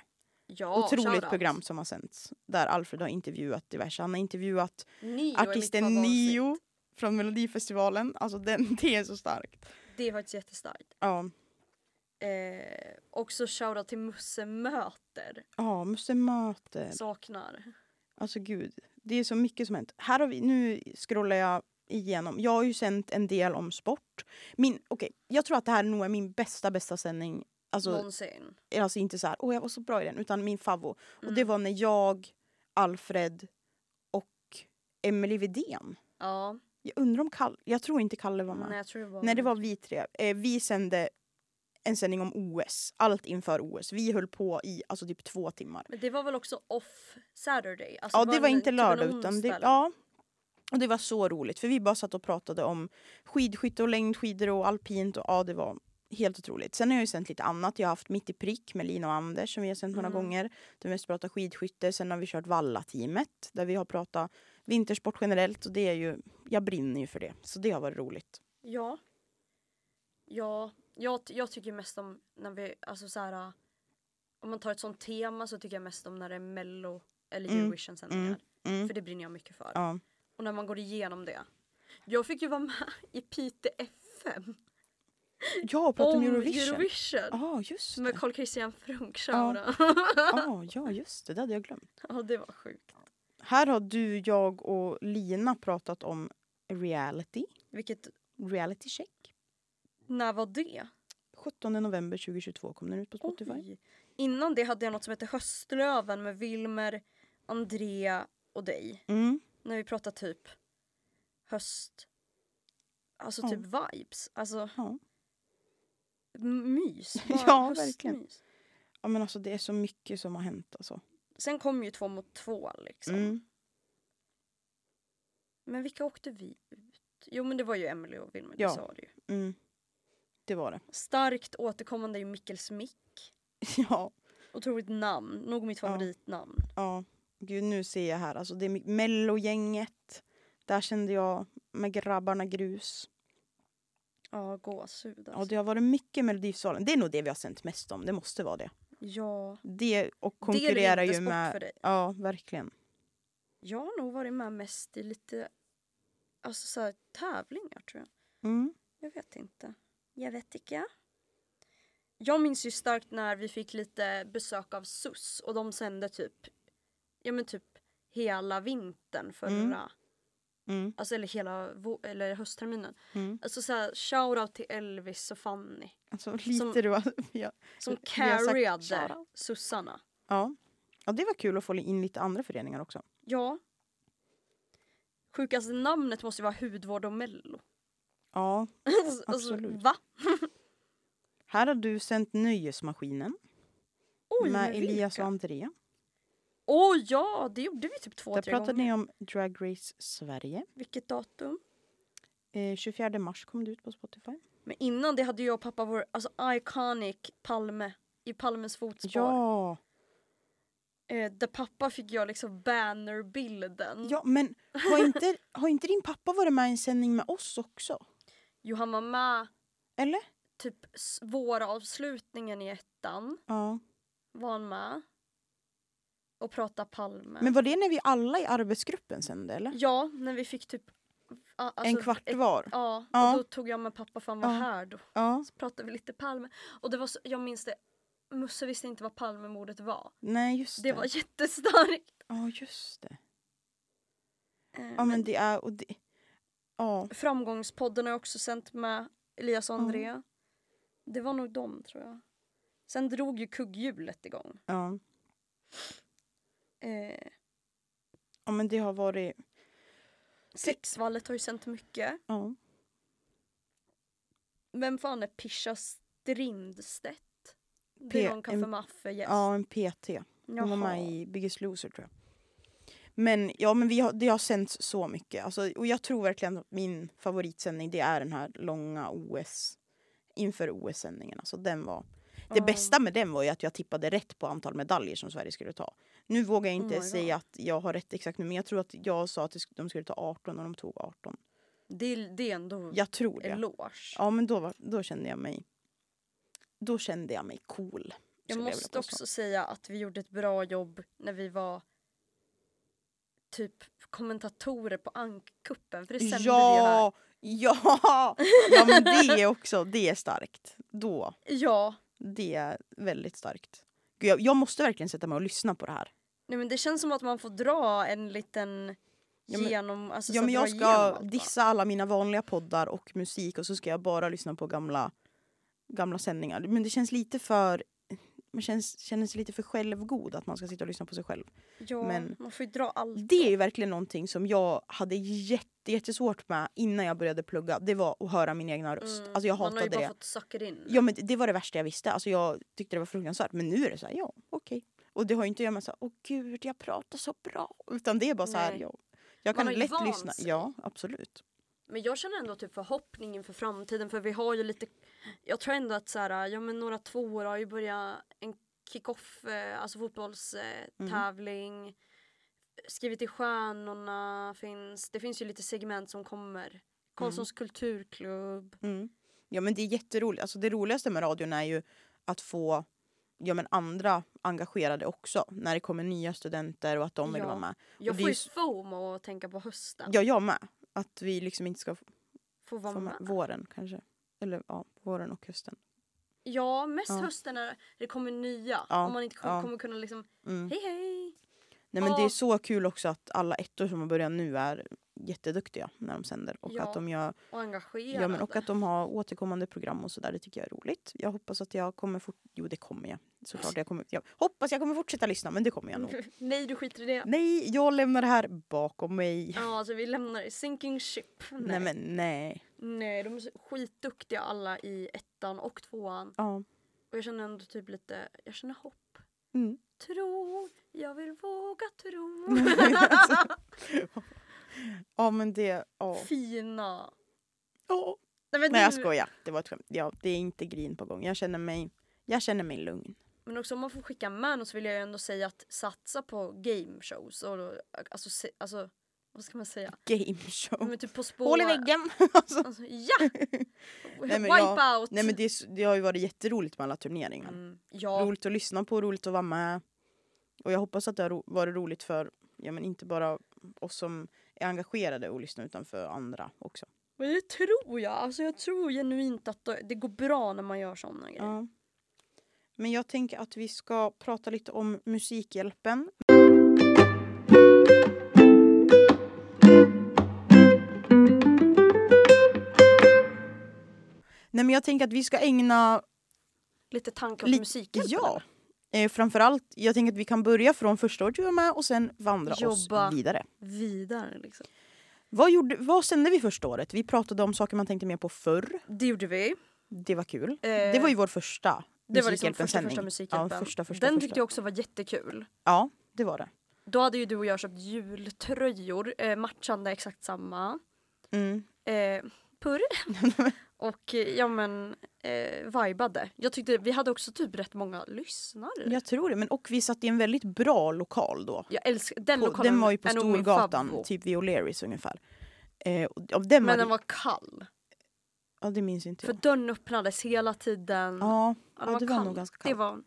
ja,
Otroligt
shoutout.
program som har sänts. Där Alfred har intervjuat diverse. Han har intervjuat
Nio är mitt
artisten
favoritavsnitt.
Nio från Melodifestivalen. Alltså den, det är så starkt.
Det är faktiskt jättestarkt.
Ja,
Eh, också shoutout till Musse Möter.
ja Musse Möter.
Saknar.
Alltså gud, det är så mycket som hänt. Här har vi, nu scrollar jag igenom. Jag har ju sänt en del om sport. Min, okej, jag tror att det här nog är min bästa, bästa sändning. Alltså,
Någonsin.
alltså inte så här, åh jag var så bra i den, utan min favvo. Och
Mm.
det var när jag, Alfred och Emily Vidén.
Ja.
Jag undrar om Kalle, jag tror inte Kalle var med.
Nej,
Nej,
jag tror det var...
det var vi tre. Eh, vi sände en sändning om OS, allt inför OS. Vi höll på i alltså typ två timmar.
Men det var väl också off Saturday? Alltså,
Ja, det var
en-
inte
typ en
lördag utan
onsdag
det,
eller något.
ja. Och det var så roligt för vi bara satt och pratade om skidskytte och längdskidor och alpint och ja det var helt otroligt. Sen har jag ju sänt lite annat. Jag har haft Mitt i prick med Lina och Anders som vi har sänt några
Mm.
gånger. Där vi mest pratar skidskytte. Sen har vi kört Valla-teamet där vi har pratat vintersport generellt och det är ju, jag brinner ju för det. Så det har varit roligt.
Ja. Ja, jag, ty- jag tycker mest om när vi, alltså så här, om man tar ett sånt tema så tycker jag mest om när det är mello eller
Mm,
Eurovision sändningar.
Mm.
För det brinner jag mycket för.
Ja.
Och när man går igenom det. Jag fick ju vara med i Pite FM
ja, och prata om
om
Eurovision.
Eurovision.
Ja, just
Med
det.
Carl Christian Frunk,
Ja.
Typ. ja.
Ja, ja, just det. Det hade jag glömt.
ja, det var sjukt.
Här har du, jag och Lina pratat om reality.
Vilket,
Reality check.
när var det?
17 november 2022 kom den ut på Spotify.
Oj. Innan det hade jag något som hette Höstlöven med Wilmer, Andrea och dig.
Mm.
När vi pratade typ höst, alltså
Ja.
typ vibes. Alltså
Ja.
m- mys. Bara
Ja,
höstmys.
verkligen. ja men alltså det är så mycket som har hänt alltså.
Sen kom ju två mot två liksom.
Mm.
Men vilka åkte vi ut? Jo men det var ju Emily och Wilmer,
Ja.
det sa du ju.
Mm. Det var det.
Starkt återkommande är ju Mickels Mick.
Ja.
Otroligt namn, nog mitt
Ja.
favoritnamn.
Ja, gud nu ser jag här. Alltså det är my- mellogänget. Där kände jag med grabbarna grus.
Ja, gåshud
Ja,
alltså.
det har varit mycket Melodifestivalen. Det är nog det vi har sänt mest om. Det måste vara det.
Ja,
Det och
det är
konkurrerar
lite
ju
sport för
med...
dig.
Ja, verkligen.
Jag har nog varit med mest i lite alltså så här, tävlingar tror jag.
Mm.
Jag vet inte. Jag vet inte. Jag minns ju starkt när vi fick lite besök av SUS och de sände typ, ja men typ hela vintern förra,
Mm. Mm.
alltså eller hela vå- eller höstterminen.
Mm.
Alltså såhär shoutout till Elvis och Fanny
Alltså lite
Som-
du har... ja.
som
Vi har sagt
carryade
shoutout.
sossarna.
ja. Ja, det var kul att få in lite andra föreningar också.
Ja. Sjukaste namnet måste ju vara hudvård och mello.
Ja,
Alltså,
Absolut.
va?
här har du sänt Nöjesmaskinen
Oj,
med
vilka?
Elias och Andrea.
Åh ja, det gjorde vi typ två,
Där
tre
pratade
gånger.
ni om Drag Race Sverige.
Vilket datum?
Eh, 24 mars kom det ut på Spotify.
Men innan det hade jag och pappa vår alltså, iconic Palme i Palmes fotspår.
Ja!
Eh, där pappa fick jag liksom bannerbilden.
Ja, men har inte, har inte din pappa varit med i en sändning med oss också?
Jo, han var med
Eller?
typ s- våravslutningen i ettan.
Ja.
Var han med. Och pratade Palme.
Men var det när vi alla i arbetsgruppen sände eller?
Ja, när vi fick typ... a- alltså,
en kvart
ett-
var?
Ja,
Ja.
och då tog jag med pappa för han var
Ja.
här då.
Ja.
Så pratade vi lite Palme. Och det var så, jag minns det, Musse visste inte vad Palmemordet var.
Nej, just det.
Det var jättestarkt.
Ja, just det.
Eh,
Ja, men
men
det är... Och det... Ja.
Eh, Framgångspodden har jag också sänt med Elias och
Ja.
Andrea. Det var nog dem tror jag. Sen drog ju kugghjulet igång.
ja.
Eh,
Ja, men det har varit...
Sexvallet har ju sänt mycket.
Ja.
Vem fan är Pisha Strindstedt? Det
P-
är någon kaffe
en-
maffe gäst.
Ja, en PT. Hon var
Jaha.
med i Biggest Loser tror jag. Men ja, men vi har, det har sänts så mycket. Alltså, och jag tror verkligen att min favoritsändning det är den här långa OS. Inför OS-sändningen. Alltså, den var, det
Ja.
bästa med den var ju att jag tippade rätt på antal medaljer som Sverige skulle ta. Nu vågar jag
Oh
inte
my
säga att jag har rätt exakt nu men jag tror att jag sa att det sk- de skulle ta 18 och de tog 18.
Det, är- det är ändå
Jag tror det.
eloge.
Ja men då, var, då kände jag mig då kände jag mig cool. skulle
Jag
vilja
måste
påstå.
också säga att vi gjorde ett bra jobb när vi var typ kommentatorer på ankkuppen för det sände vi ju här.
Ja, ja, ja men det är också, det är starkt. Då,
Ja,
det är väldigt starkt. Gud, jag, jag måste verkligen sätta mig och lyssna på det här.
nej men det känns som att man får dra en liten
Ja, men-
genom, alltså
Ja
så
men
dra
jag
igenom
ska
allt, va?
dissa alla mina vanliga poddar och musik och så ska jag bara lyssna på gamla, gamla sändningar. Men det känns lite för, man känns, känner sig lite för självgod att man ska sitta och lyssna på sig själv.
Ja,
men-
man får ju dra allt.
Det är ju verkligen någonting som jag hade jätte, jättesvårt med innan jag började plugga. Det var att höra min egna röst.
Mm,
Alltså jag
Man har
hatade
ju bara
det.
fått sucka det in.
Ja men det var det värsta jag visste. Alltså jag tyckte det var fruktansvärt. Men nu är det så här, ja okej. Och det har ju inte att göra med så här, åh gud jag pratar så bra. Utan det är bara så här,
Nej.
ja. Jag
Man
kan
har ju
lätt
vant
lyssna.
sig.
Ja, absolut.
Men jag känner ändå typ förhoppning inför framtiden för vi har ju lite Jag tror ändå att så här, ja men några tvåor har ju börjat en kick-off, eh, alltså
Mm.
fotbollstävling Skrivit i stjärnorna finns, det finns ju lite segment som kommer Karlssons kulturklubb
Mm. Ja men det är jätteroligt. Alltså det roligaste med radion är ju att få ja, men andra engagerade också. När det kommer nya studenter och att de vill
Ja.
vara med.
Jag
Och det är
får
ju
ju
s-
fomo att tänka på hösten,
Ja jag med. Att vi liksom inte ska få
får vara
få
med.
med våren kanske. Eller ja, våren och hösten.
Ja mest
Ja.
hösten när det kommer nya,
Ja,
om man inte kom-
ja.
kommer kunna liksom
Mm.
hej hej
Nej men det
Ja.
är så kul också att alla ettor som har börjat nu är jätteduktiga när de sänder. Och,
Ja.
att, de gör,
och engagerade.
ja, men, och att de har återkommande program och sådär. Det tycker jag är roligt. Jag hoppas att jag kommer fort... Jo det kommer jag. Såklart jag kommer... Jag hoppas jag kommer fortsätta lyssna men det kommer jag nog.
Nej du skiter i det.
Nej, jag lämnar det här bakom mig.
Ja alltså vi lämnar Sinking Ship. Nej.
Nej men nej.
Nej de är så skitduktiga alla i ettan och tvåan.
Ja.
Och jag känner ändå typ lite, jag känner hopp.
Mm.
Tro, jag vill våga tro.
Ja men det... Ja.
Fina.
Ja.
Nej, men
Nej jag
du-
skojar. Det var ett skämt. Ja, det är inte grin på gång. Jag känner mig, jag känner mig lugn.
Men också om man får skicka med något så vill jag ju ändå säga att satsa på game shows. Och, då- alltså, se, alltså, vad ska man säga?
Game
Ja,
show.
Men typ På
Hål i
spåret.
väggen.
Alltså, ja!
men
Wipeout!
Nej men det, är s- det har ju varit jätteroligt med alla turneringar.
Mm, ja,
Roligt att lyssna på, roligt att vara med. Och jag hoppas att det har ro- varit roligt för, ja men inte bara oss som är engagerade och lyssnar utan för andra också.
men det tror jag. Alltså, jag tror genuint att det det går bra när man gör sådana grejer.
Ja. Men jag tänker att vi ska prata lite om Musikhjälpen. Nej men jag tänker att vi ska ägna
Lite tankar
Li-
på musiken.
Ja. Eh, framförallt, jag tänker att vi kan börja från första året du var med och sen vandra
Jobba.
oss vidare.
Vidare liksom.
Vad, gjorde, vad sände vi första året? Vi pratade om saker man tänkte mer på förr.
Det gjorde vi. Eh,
Det var kul. det var ju vår första
Det var liksom första,
Musikhjälpen-sändning.
första musikhjälpen.
Ja, första, första,
Den
första.
tyckte jag också var jättekul.
Ja, det var det.
Då hade ju du och jag köpt jultröjor, eh, matchande exakt samma.
Mm.
eh, purr. och eh, ja men eh, vibade. Jag tyckte vi hade också typ rätt många lyssnare.
Jag tror det. Men, och vi satt i en väldigt bra lokal då.
Jag älskar den
På,
lokalen.
den var ju på
är nog min
Storgatan,
favvo.
typ vid O'Learys ungefär. Eh, och, och den
Men
var,
den var kall.
ja, det minns inte
För
jag.
dörren öppnades hela tiden.
Typ. Ja,
Ja,
ja,
den
det var nog ganska
Det
kallt.
var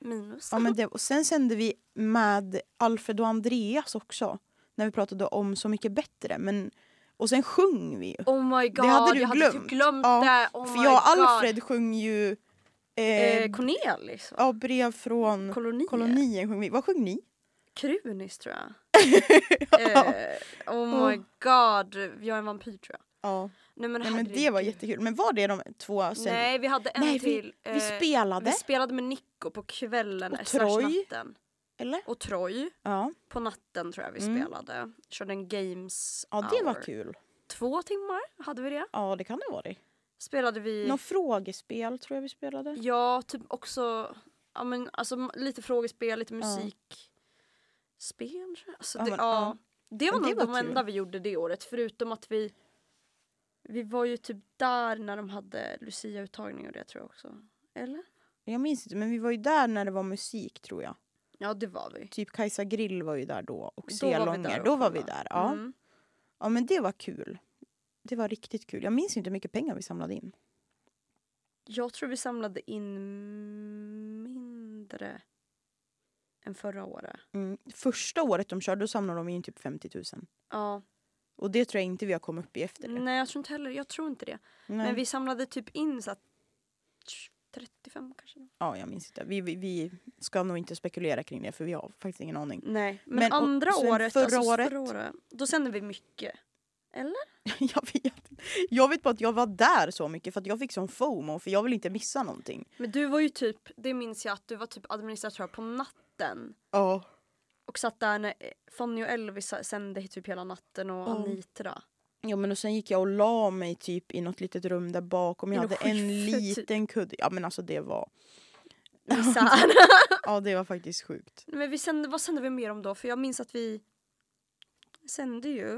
minus.
Ja, men det, och sen sände vi med Alfred och Andreas också. När vi pratade om Så mycket bättre. Men, och sen sjöng vi ju.
Oh my god,
hade du
jag hade
glömt.
typ glömt
Ja,
det. Oh
För
my
jag och
god.
Alfred sjöng ju eh,
Eh, Cornelis. va?
ja, brev från
Kolonier.
kolonien. Sjöng vi. Vad sjöng ni?
Krunis tror jag. eh, oh my god, jag är en vampyr tror jag.
Ja.
Nej men,
Nej, men det var
herregud.
jättekul. Men var det de två sen?
Nej vi hade en
Nej, vi-
till.
Vi
eh,
spelade,
Vi spelade med Nico på kvällen
Och
slash
Troy.
natten.
eller?
Och Troy.
Ja.
På natten tror jag vi
Mm.
spelade. Körde en games
ja, det
hour.
var kul.
Två timmar hade vi det.
Ja, det kan det ha varit.
Spelade vi,
Något frågespel tror jag vi spelade.
ja typ också, ja men alltså m- lite frågespel, lite
Ja.
musik. Spel alltså,
Ja,
det,
men,
ja. det var
Men det
nog
var
de
kul.
enda vi gjorde det året förutom att vi vi var ju typ där när de hade Lucia-uttagning och det tror jag också. Eller?
Jag minns inte, men vi var ju där när det var musik tror jag.
Ja det var vi.
Typ Kajsa Grill var ju där då och
Då var vi där
Selånger.
och
Då var vi
kollade.
där. Ja.
Mm.
ja, men det var kul. Det var riktigt kul. Jag minns inte hur mycket pengar vi samlade in.
Jag tror vi samlade in mindre än förra året.
Mm. Första året de körde då samlade de in typ 50 000.
Ja.
Och det tror jag inte vi har kommit upp i efter det.
Nej, jag tror inte heller jag tror inte det.
Nej.
Men vi samlade typ in så att 35 kanske.
Ja, jag minns inte. Vi, vi, vi ska nog inte spekulera kring det för vi har faktiskt ingen aning.
Nej, men,
Men och
andra
sen
året,
förra
alltså
året-
förra året, då sände vi mycket.
jag, vet. inte. jag vet bara att jag var där så mycket för att jag fick sån fomo för jag vill inte missa någonting.
Men du var ju typ, det minns jag att du var typ administratör på natten.
Ja.
Och satt där när eh, Fanny och Elvis sände typ hela natten och
Ja.
Anitra.
Ja men och sen gick jag och la mig typ i något litet rum där bakom. Jag
I något
hade en
skifte, typ.
liten kudde. Ja men alltså det var,
Misär.
ja det var faktiskt sjukt.
Men vi sände, vad sände vi mer om då? För jag minns att vi sände ju.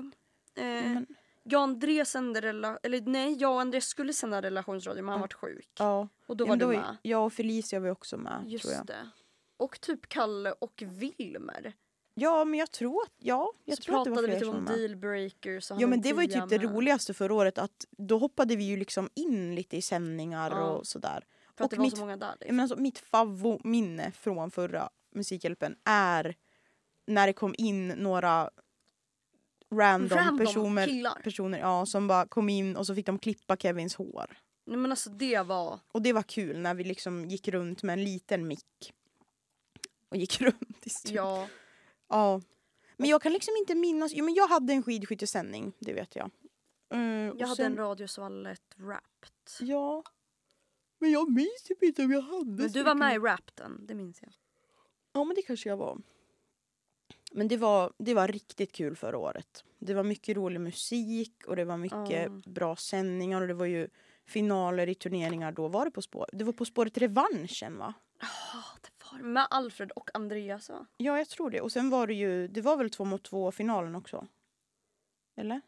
Eh,
men-
Jag och André sände rela- eller nej, jag och André skulle sända relationsradio men han
Ja.
vart sjuk.
Ja.
Och då
Ja,
var
men
du
ju-
med.
Jag och Felicia var ju också med tror
Just
jag.
det. Och typ Kalle och Wilmer.
Ja men jag tror att, ja jag
så
tror att det var
pratade vi
fler
typ
som var
om
med.
dealbreakers. och
Ja
han eh,
men
och
det var ju
Tia
typ det
med.
roligaste förra året att då hoppade vi ju liksom in lite i sändningar
Ja.
och sådär.
För att
och
det var
mitt-
så många där. liksom.
Jag menar alltså, mitt favvominne från förra Musikhjälpen är när det kom in några random, personer,
killar.
personer ja, som bara kom in och så fick de klippa Kevins hår.
Nej men alltså det var.
Och det var kul när vi liksom gick runt med en liten mick. Typ. Och gick runt i studion. Ja.
Ja.
Men jag kan liksom inte minnas. Jo, men jag hade en skidskyttesändning, det vet jag. Eh, och
Jag hade
sen-
en radiosvallet Wrapped.
Ja. Men jag minns typ inte om jag hade
Men
så
du var
mycket-
med i Wrappeden, det minns jag.
Ja men det kanske jag var. Men det var, det var riktigt kul förra året. Det var mycket rolig musik och det var mycket
Ja.
bra sändningar och det var ju finaler i turneringar då. Var det På spår? Det var På spåret revanschen va?
Ja, det var med Alfred och Andreas va?
Ja jag tror det. Och sen var det ju, det var väl två mot två finalen också? Eller?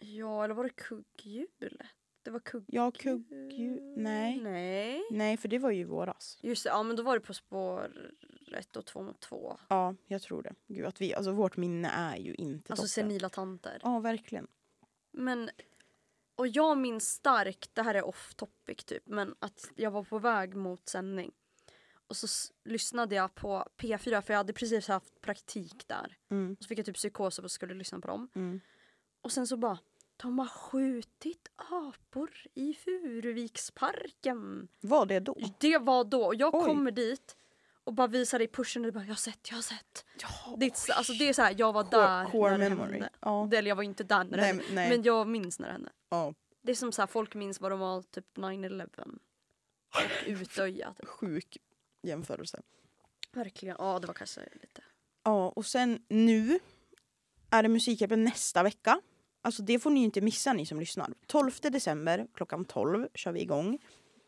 Ja, eller var det kugghjulet? Det var kugghjul...
Ja kugghjul, nej.
Nej.
Nej för det var ju i våras.
Just det, ja men då var det På spåret och Två mot två.
Ja jag tror det. Gud att vi, alltså vårt minne är ju inte
Alltså
toppen.
senila tanter.
Ja verkligen.
Men, och jag minns starkt, det här är off topic typ, men att jag var på väg mot sändning. Och så s- lyssnade jag på P4 för jag hade precis haft praktik där.
Mm,
Och så fick jag typ psykos och skulle lyssna på dem.
mm.
Och sen så bara, de har skjutit apor i Furuviksparken.
Var det då?
Det var då, och jag
Oj.
kommer dit och bara visar i pushen och bara jag har sett, jag har sett. Det är, ett- alltså, det är så här, jag var där
Core
när det
memory.
hände.
Ja.
Eller jag var inte där när det
Nej,
hände.
nej.
Men jag minns när det hände.
ja.
Det är som så här, folk minns vad de var typ 9-11. Och Utöja. typ.
sjuk jämförelse.
Verkligen. Ja, det var kanske lite.
Ja, och sen nu är det Musikhjälpen nästa vecka. Alltså det får ni ju inte missa ni som lyssnar. 12 december klockan 12 kör vi igång.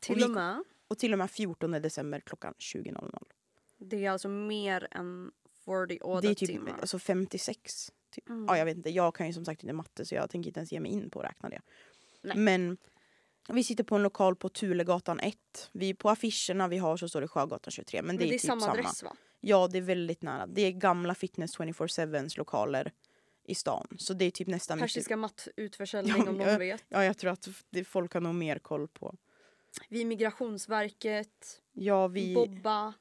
Till
vi-
och med.
Och till och med 14 december klockan 20.00.
Det är alltså mer än 40 åda
Det är typ
timmar.
alltså 56. Typ.
Mm.
Ja, jag vet inte. Jag kan ju som sagt inte matte så jag tänker inte ens ge mig in på att räkna det.
Nej.
Men vi sitter på en lokal på Tulegatan 1. Vi, på affischerna vi har så står det Sjögatan 23. Men det,
Men det är,
är, typ
samma
samma.
adress va?
Ja, det är väldigt nära. Det är gamla Fitness 24-7s lokaler i stan. Så det är typ nästan... mitt i-
Persiska mattutförsäljning om någon
Ja,
vet.
Ja, jag tror att det, folk har nog mer koll på...
Vi Migrationsverket,
Ja, vi...
Bobba.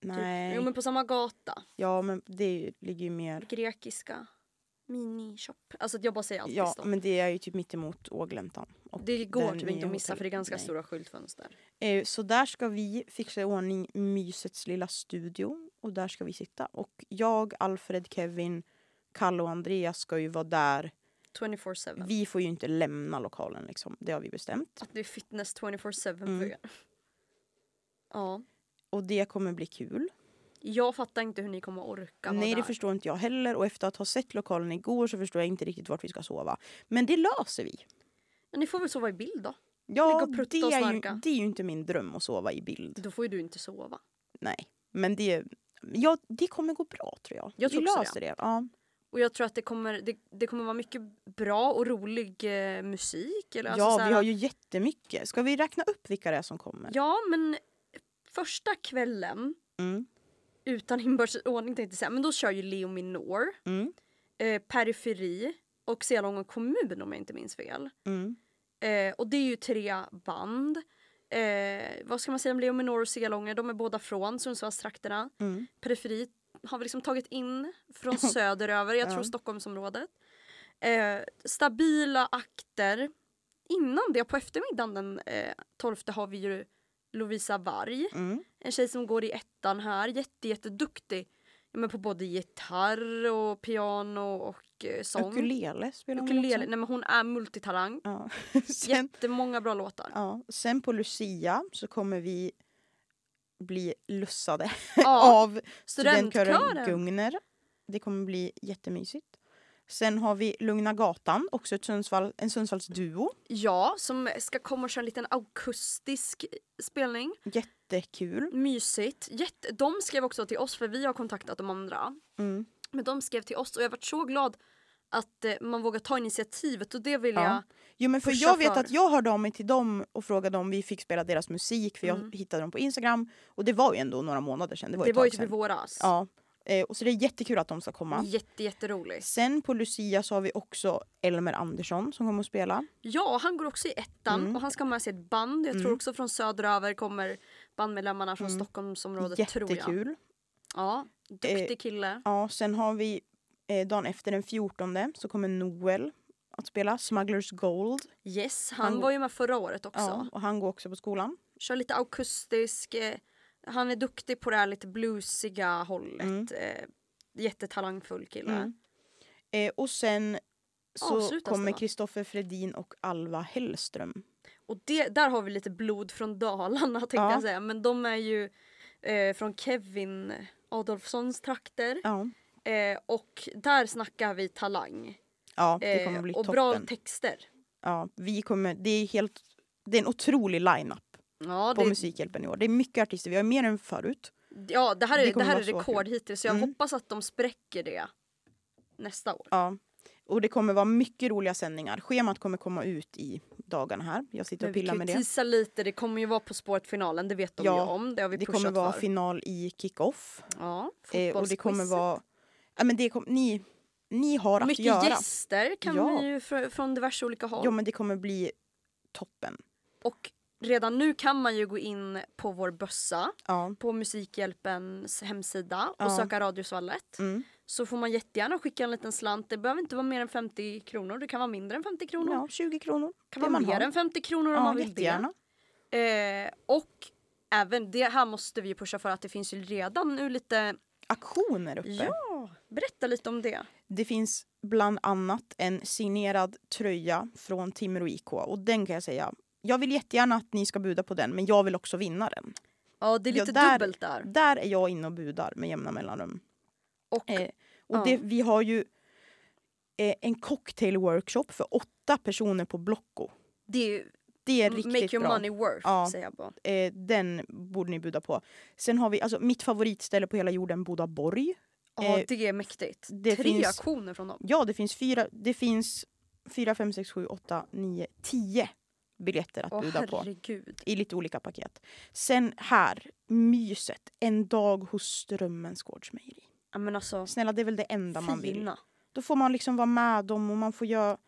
nej.
Typ. Jo men på samma gata.
Ja, men det ligger ju mer...
Grekiska. Minishop. Alltså att jag bara säger allt
Ja,
i stan.
men det är ju typ mittemot Ågläntan. Och
Det går
den
typ inte
nya
att missa för det är
hotellet.
ganska
Nej.
stora skyltfönster.
Eh, Så där ska vi fixa i ordning mysets lilla studio. Och där ska vi sitta. Och jag, Alfred, Kevin, Kalle och Andreas ska ju vara där.
24-7.
Vi får ju inte lämna lokalen liksom. Det har vi bestämt.
Att det är fitness 24-7
Mm.
för er. Ja.
Och det kommer bli kul.
Jag fattar inte hur ni kommer orka vara
Nej, det
där.
förstår inte jag heller. Och efter att ha sett lokalen igår så förstår jag inte riktigt vart vi ska sova. Men det löser vi.
Men Ni får väl sova i bild då? Ligga
Ja,
och
det
prutta och
är, ju,
snarka.
det är ju inte min dröm att sova i bild.
Då får ju du inte sova.
Nej, men det, ja, det kommer gå bra tror jag.
Jag tror
vi
också
löser det. Ja.
Och jag tror att det kommer, det, det kommer vara mycket bra och rolig eh, musik. Eller alltså så
ja,
här-
vi har ju jättemycket. Ska vi räkna upp vilka det är som kommer?
ja, men första kvällen
Mm,
utan inbördes ordning tänkte jag säga, men då kör ju Leo Minor,
mm,
eh, Periferi och Selånga kommun om jag inte minns fel.
mm.
Eh, och det är ju tre band. Eh, vad ska man säga om Leo Minor och Selånga? De är båda från Sundsvallstrakterna.
mm.
periferi har vi liksom tagit in från söder över, jag tror
Ja.
Stockholmsområdet. Eh, stabila akter. Innan det, på eftermiddagen den eh, 12 har vi ju Lovisa Varg.
mm.
En tjej som går i ettan här, jätte, jätteduktig. Ja, men på både gitarr och piano och eh, sång.
Ukulele spelar hon
Ukulele.
också.
Nej, men hon är multitalang.
Ja. Sen,
Jättemånga bra låtar.
ja. Sen på Lucia så kommer vi bli lussade
Ja,
av Studentkören
studentkören.
Gungner. Det kommer bli jättemysigt. Sen har vi Lugna Gatan, också ett Sundsvall, en Sundsvallsduo.
Ja, som ska komma och köra en liten akustisk spelning.
Jättekul.
Mysigt. Jätte, de skrev också till oss, för vi har kontaktat de andra.
Mm.
Men de skrev till oss och jag varit så glad att eh, man vågar ta initiativet och det vill
Ja.
jag.
Jo, men för
Pusha
jag vet
för.
att jag hörde av mig till dem och frågade om vi fick spela deras musik för jag
Mm.
hittade dem på Instagram. Och det var ju ändå några månader sedan. Det var,
Det
ett
var ju
tag
typ i
sedan.
våras.
Ja. Eh, och så det är jättekul att de ska komma.
Jätte, jätteroligt.
Sen på Lucia så har vi också Elmer Andersson som kommer att spela.
Ja, han går också i ettan
Mm.
och han ska ha med sig ett band. Jag tror också från söderöver kommer bandmedlemmarna från
Mm.
Stockholmsområdet tror jag.
Jättekul.
Ja,
Eh,
duktig kille.
Ja, sen har vi eh, dagen efter den 14 så kommer Noel att spela Smugglers Gold.
Yes, han,
han-
var ju med förra året också.
Ja, och han går också på skolan.
Kör lite akustisk. Eh, han är duktig på det här lite bluesiga hållet. Eh, jättetalangfull kille.
Mm. Eh, och sen så
Avslutas det,
kommer
va?
Kristoffer Fredin och Alva Hellström.
Och det, där har vi lite blod från Dalarna tänkte
Ja.
jag säga. Men de är ju eh, från Kevin Adolfssons trakter.
Ja,
Eh, och där snackar vi talang.
ja det
Eh,
kommer bli
och
toppen.
bra texter.
Ja, vi kommer, det, är helt, det är en otrolig line-up
Ja,
på
det,
Musikhjälpen i år. Det är mycket artister, vi har mer än förut.
ja, det här
det
är, det
kommer
här är
vara så kul.
rekord hittills. Så jag
Mm.
hoppas att de spräcker det nästa år.
Ja. Och det kommer vara mycket roliga sändningar. Schemat kommer komma ut i dagarna här. Jag sitter
Men
och
vi
pillar
kan ju
med det.
tisa lite, det kommer ju vara På spåret-finalen, det vet de
Ja,
ju om. Det har vi
Det
pushat
kommer vara
för.
final i kick-off.
ja,
Eh, och det kommer
fotbollsquizet.
vara... Ja, men det kom, ni, ni har att
Mycket
göra.
gäster kan
Ja.
vi ju fr- från diverse olika håll.
Ja, men det kommer bli toppen.
Och redan nu kan man ju gå in på vår bössa
Ja.
på Musikhjälpens hemsida och
Ja.
söka Radiosvallet.
Mm.
Så får man jättegärna skicka en liten slant. Det behöver inte vara mer än 50 kronor. Det kan vara mindre än 50 kronor.
ja, 20 kronor. det
kan vara
man
mer
har.
än 50 kronor om man vill
jättegärna.
det. Eh, och även det här måste vi ju pusha för att det finns ju redan nu lite...
Aktioner uppe.
Ja, berätta lite om det.
Det finns bland annat en signerad tröja från Timrå IK och den kan jag säga, jag vill jättegärna att ni ska buda på den men jag vill också vinna den.
Ja, det är
Ja,
lite
där-
dubbelt där.
Där är jag inne och budar med jämna mellanrum.
Och
Eh, och
Ja.
det, vi har ju eh, en cocktailworkshop för åtta personer på Blocko.
det är ju
Det är riktigt
make your
bra.
money worth,
Ja.
säger jag bara.
Eh, den borde ni buda på. Sen har vi alltså, mitt favoritställe på hela jorden, Bodaborg.
Ja,
Eh,
det är mäktigt.
det
Tre
finns-
aktioner från dem.
Ja, det finns fyra, det finns fyra, fem, sex, sju, åtta, nio, tio biljetter att
Åh
buda på.
herregud.
I lite olika paket. Sen här, myset. En dag hos Strömmens gårdsmejeri.
Ja, men alltså,
Snälla, det är väl det enda man vill.
fina.
Då får man liksom vara med dem och man får göra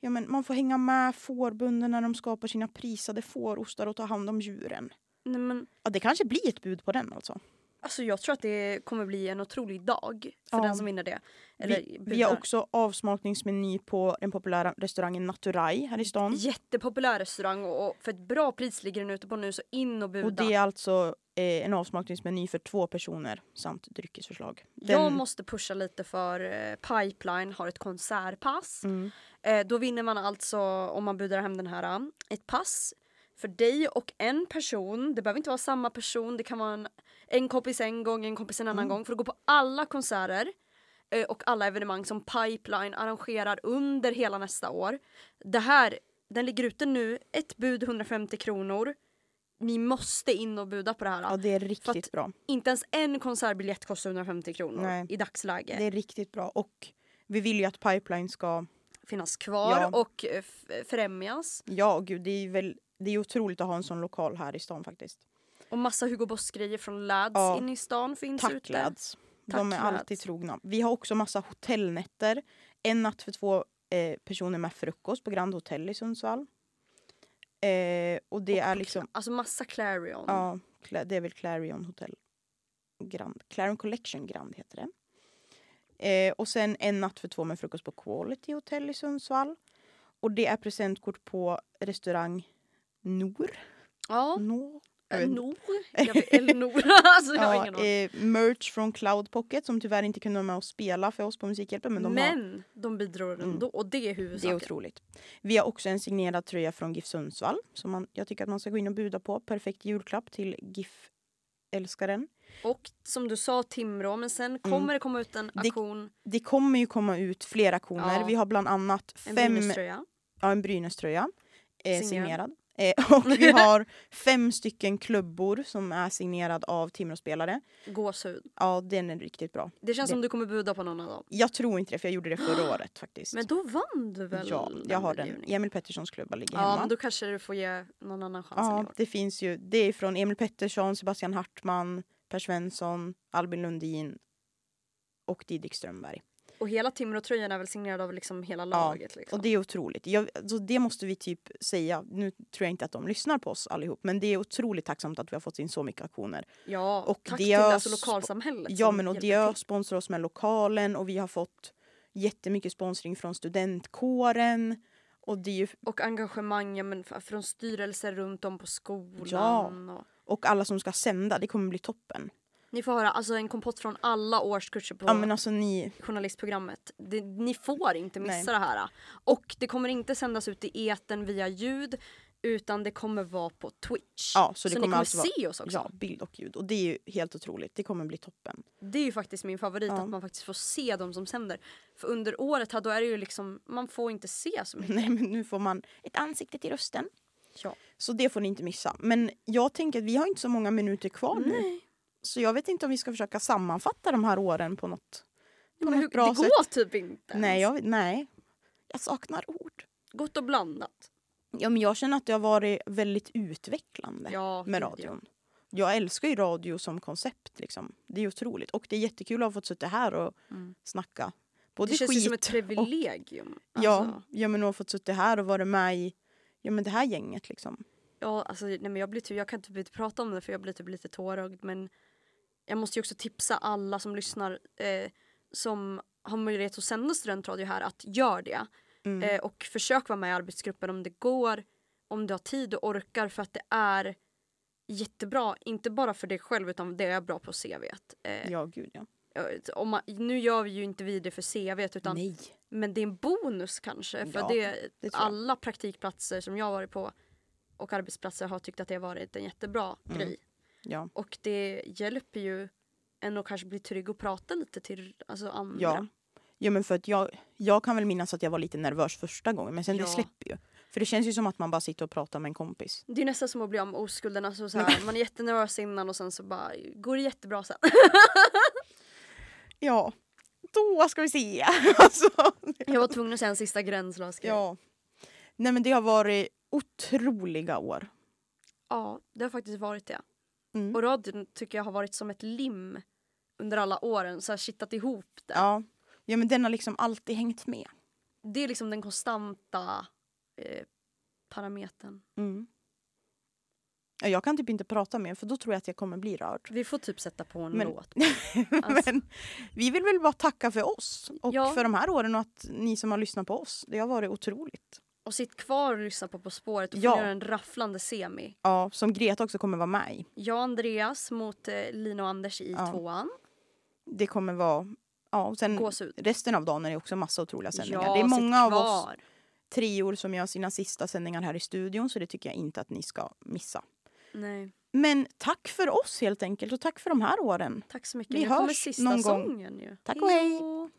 Ja, men man får hänga med fårbunden när de skapar sina prisade fårostar och ta hand om djuren.
Nej, men,
Ja, det kanske blir ett bud på den alltså.
alltså, jag tror att det kommer bli en otrolig dag för
Ja.
den som vinner det. Eller,
Vi, vi
budar.
har också avsmakningsmeny på den populära restaurangen Naturai här i stan.
Jättepopulär restaurang och, och för ett bra pris ligger den ute på nu så in och buda.
Och det är alltså eh, en avsmakningsmeny för två personer samt dryckesförslag.
Jag
Den-
måste pusha lite för eh, Pipeline har ett konsertpass.
Mm.
Eh, då vinner man alltså, om man budar hem den här, eh, ett pass för dig och en person. Det behöver inte vara samma person. Det kan vara en, en kompis en gång, en kompis en
Mm.
annan gång. För att gå på alla konserter eh, och alla evenemang som Pipeline arrangerar under hela nästa år. Det här, den ligger ute nu. Ett bud 150 kronor. Ni måste in och buda på det här. eh.
Ja, det är
För
riktigt
att-
bra.
Inte ens en konsertbiljett kostar 150 kronor
Nej.
i dagsläget.
Det är riktigt bra. Och vi vill ju att Pipeline ska...
Finnas kvar
Ja.
och eh, f- främjas.
Ja, gud, det är väl... Det är otroligt att ha en sån lokal här i stan faktiskt.
Och massa Hugo Boss-grejer från Lads
Ja.
inne i stan finns
Tack
ute.
lads.
Tack,
De är alltid
lads.
trogna. Vi har också massa hotellnätter. En natt för två eh, personer med frukost på Grand Hotel i Sundsvall. Eh, och det är liksom...
Alltså massa Clarion.
Ja, Cla- det är väl Clarion Hotel Grand. Clarion Collection Grand heter det. Eh, och sen en natt för två med frukost på Quality Hotel i Sundsvall. Och det är presentkort på restaurang Nor.
Ja,
Nor. Jag vet inte.
Nor. Jag vet, Elnor. alltså jag har
Ja,
ingen aning.
eh, merch från Cloud Pocket som tyvärr inte kunde vara med och spela för oss på Musikhjälpen. Men, de har, Mm.
Men de bidrar ändå och det är
det är
huvudsaken.
otroligt. Vi har också en signerad tröja från GIF Sundsvall som man, jag tycker att man ska gå in och buda på. Perfekt julklapp till GIF-älskaren.
och som du sa Timrå, men sen kommer det komma ut en
Mm. Det-
auktion,
Det kommer ju komma ut fler auktioner.
Ja.
Vi har bland annat
en
fem,
Brynäs-tröja.
ja, en Brynäs-tröja eh,
Signerad.
signerad. Eh, och vi har fem stycken klubbor som är signerad av Timråspelare.
Gåshud.
Ja, den är riktigt bra.
Det känns
Det-
som du kommer buda på någon av dem.
Jag tror inte det, för jag gjorde det förra året faktiskt.
Men då vann du väl?
ja, jag har den.
budgivningen?
Emil Petterssons klubba ligger
Ja,
hemma.
men då kanske du får ge någon annan chans än i
Ja,
år.
det finns ju. Det är från Emil Pettersson, Sebastian Hartman, Per Svensson, Albin Lundin och Didrik Strömberg.
Och hela Timrå-tröjan är väl signerad av liksom hela laget. Liksom.
Och det är otroligt. Jag, alltså det måste vi typ säga. Nu tror jag inte att de lyssnar på oss allihop, men det är otroligt tacksamt att vi har fått in så mycket aktioner.
ja,
och
och tack
det
till
är
alltså
sp-
lokalsamhället.
Ja,
som
men och
hjälper
Diö
till.
sponsrar oss med lokalen och vi har fått jättemycket sponsring från studentkåren. Och det är ju
Och engagemang ja, men f- från styrelser runt om på skolan.
Ja.
Och,
och alla som ska sända, det kommer bli toppen.
Ni får höra alltså en kompott från alla årskurser på
Ja men alltså ni,
journalistprogrammet. Det, ni får inte missa
Nej.
det här. Och det kommer inte sändas ut i etern via ljud utan det kommer vara på Twitch.
Ja, så det
ni
kommer
kommer
alltså vara-
se oss också.
ja, bild och ljud. Och det är ju helt otroligt, det kommer bli toppen.
Det är ju faktiskt min favorit
Ja.
att man faktiskt får se de som sänder. För under året här då är det ju liksom, man får inte se så mycket.
Nej men nu får man,
Ett ansikte till rösten.
Ja.
så det får ni inte missa. Men jag tänker att vi har inte så många minuter kvar nu.
Nej.
Så jag vet inte om vi ska försöka sammanfatta de här åren på något, på
Men hur,
något
det
bra sätt.
går typ inte.
Nej,
ens.
jag, nej, jag saknar ord.
Gott och blandat.
Ja, men jag känner att det har varit väldigt utvecklande
Ja,
med
gud, ja.
radion. Jag älskar ju radio som koncept. Liksom. Det är otroligt. Och det är jättekul att ha fått sitta här och
Mm.
snacka.
Det,
Både
känns ju
skit
som ett privilegium.
ja,
Alltså,
ja, men att ha fått sitta här och vara med i ja, men det här gänget. Liksom.
ja, alltså, nej, men jag, blir typ, jag kan typ inte prata om det för jag blir typ lite tårögd men jag måste ju också tipsa alla som lyssnar eh, som har möjlighet att sända studentradio här att gör det.
Mm.
Eh, och försök vara med i arbetsgruppen om det går, om du har tid och orkar för att det är jättebra, inte bara för dig själv utan det är bra på CVt. Eh,
Ja, gud ja.
eh, om man, nu gör vi ju inte vi det för CVt utan
Nej.
Men det är en bonus kanske. För
Ja,
det,
tror jag.
alla praktikplatser som jag har varit på och arbetsplatser har tyckt att det har varit en jättebra
Mm.
grej.
Ja.
Och det hjälper ju en att kanske bli trygg och prata lite till alltså, andra.
Ja. ja, men för att jag, jag kan väl minnas att jag var lite nervös första gången. Men sen
Ja.
det släpper ju. För det känns ju som att man bara sitter och pratar med en kompis.
Det är nästan som att bli av med oskulden. Alltså, så här, man är jättenervös innan och sen så bara går det jättebra sen.
Ja, då ska vi se. alltså.
Jag var tvungen att säga en sista gränslös grej.
Ja. Nej men det har varit otroliga år.
ja, det har faktiskt varit det.
Mm.
Och radion tycker jag har varit som ett lim under alla åren. Så här kittat ihop det.
Ja. ja men den har liksom alltid hängt med.
Det är liksom den konstanta eh, parametern.
Mm. Ja, Jag kan typ inte prata mer för då tror jag att jag kommer bli rörd.
Vi får typ sätta på en
Men-
låt. Alltså.
Men vi vill väl bara tacka för oss och
Ja.
för de här åren och att ni som har lyssnat på oss. Det har varit otroligt.
Och sitt kvar och lyssna på På spåret och
Ja.
få göra en rafflande semi.
Ja, som Greta också kommer vara med i.
Jag och Andreas mot eh, Lina och Anders i
Ja.
tvåan.
Det kommer vara... Ja, och sen
Gåshud.
resten av dagen är det också massa otroliga sändningar.
Ja,
det är
sitt
många av oss
kvar.
trior som gör sina sista sändningar här i studion så det tycker jag inte att ni ska missa.
Nej,
Men tack för oss helt enkelt och tack för de här åren.
tack så mycket.
Vi
nu kommer
hörs
sista
någon gång.
sången ju.
Tack och hej.
då.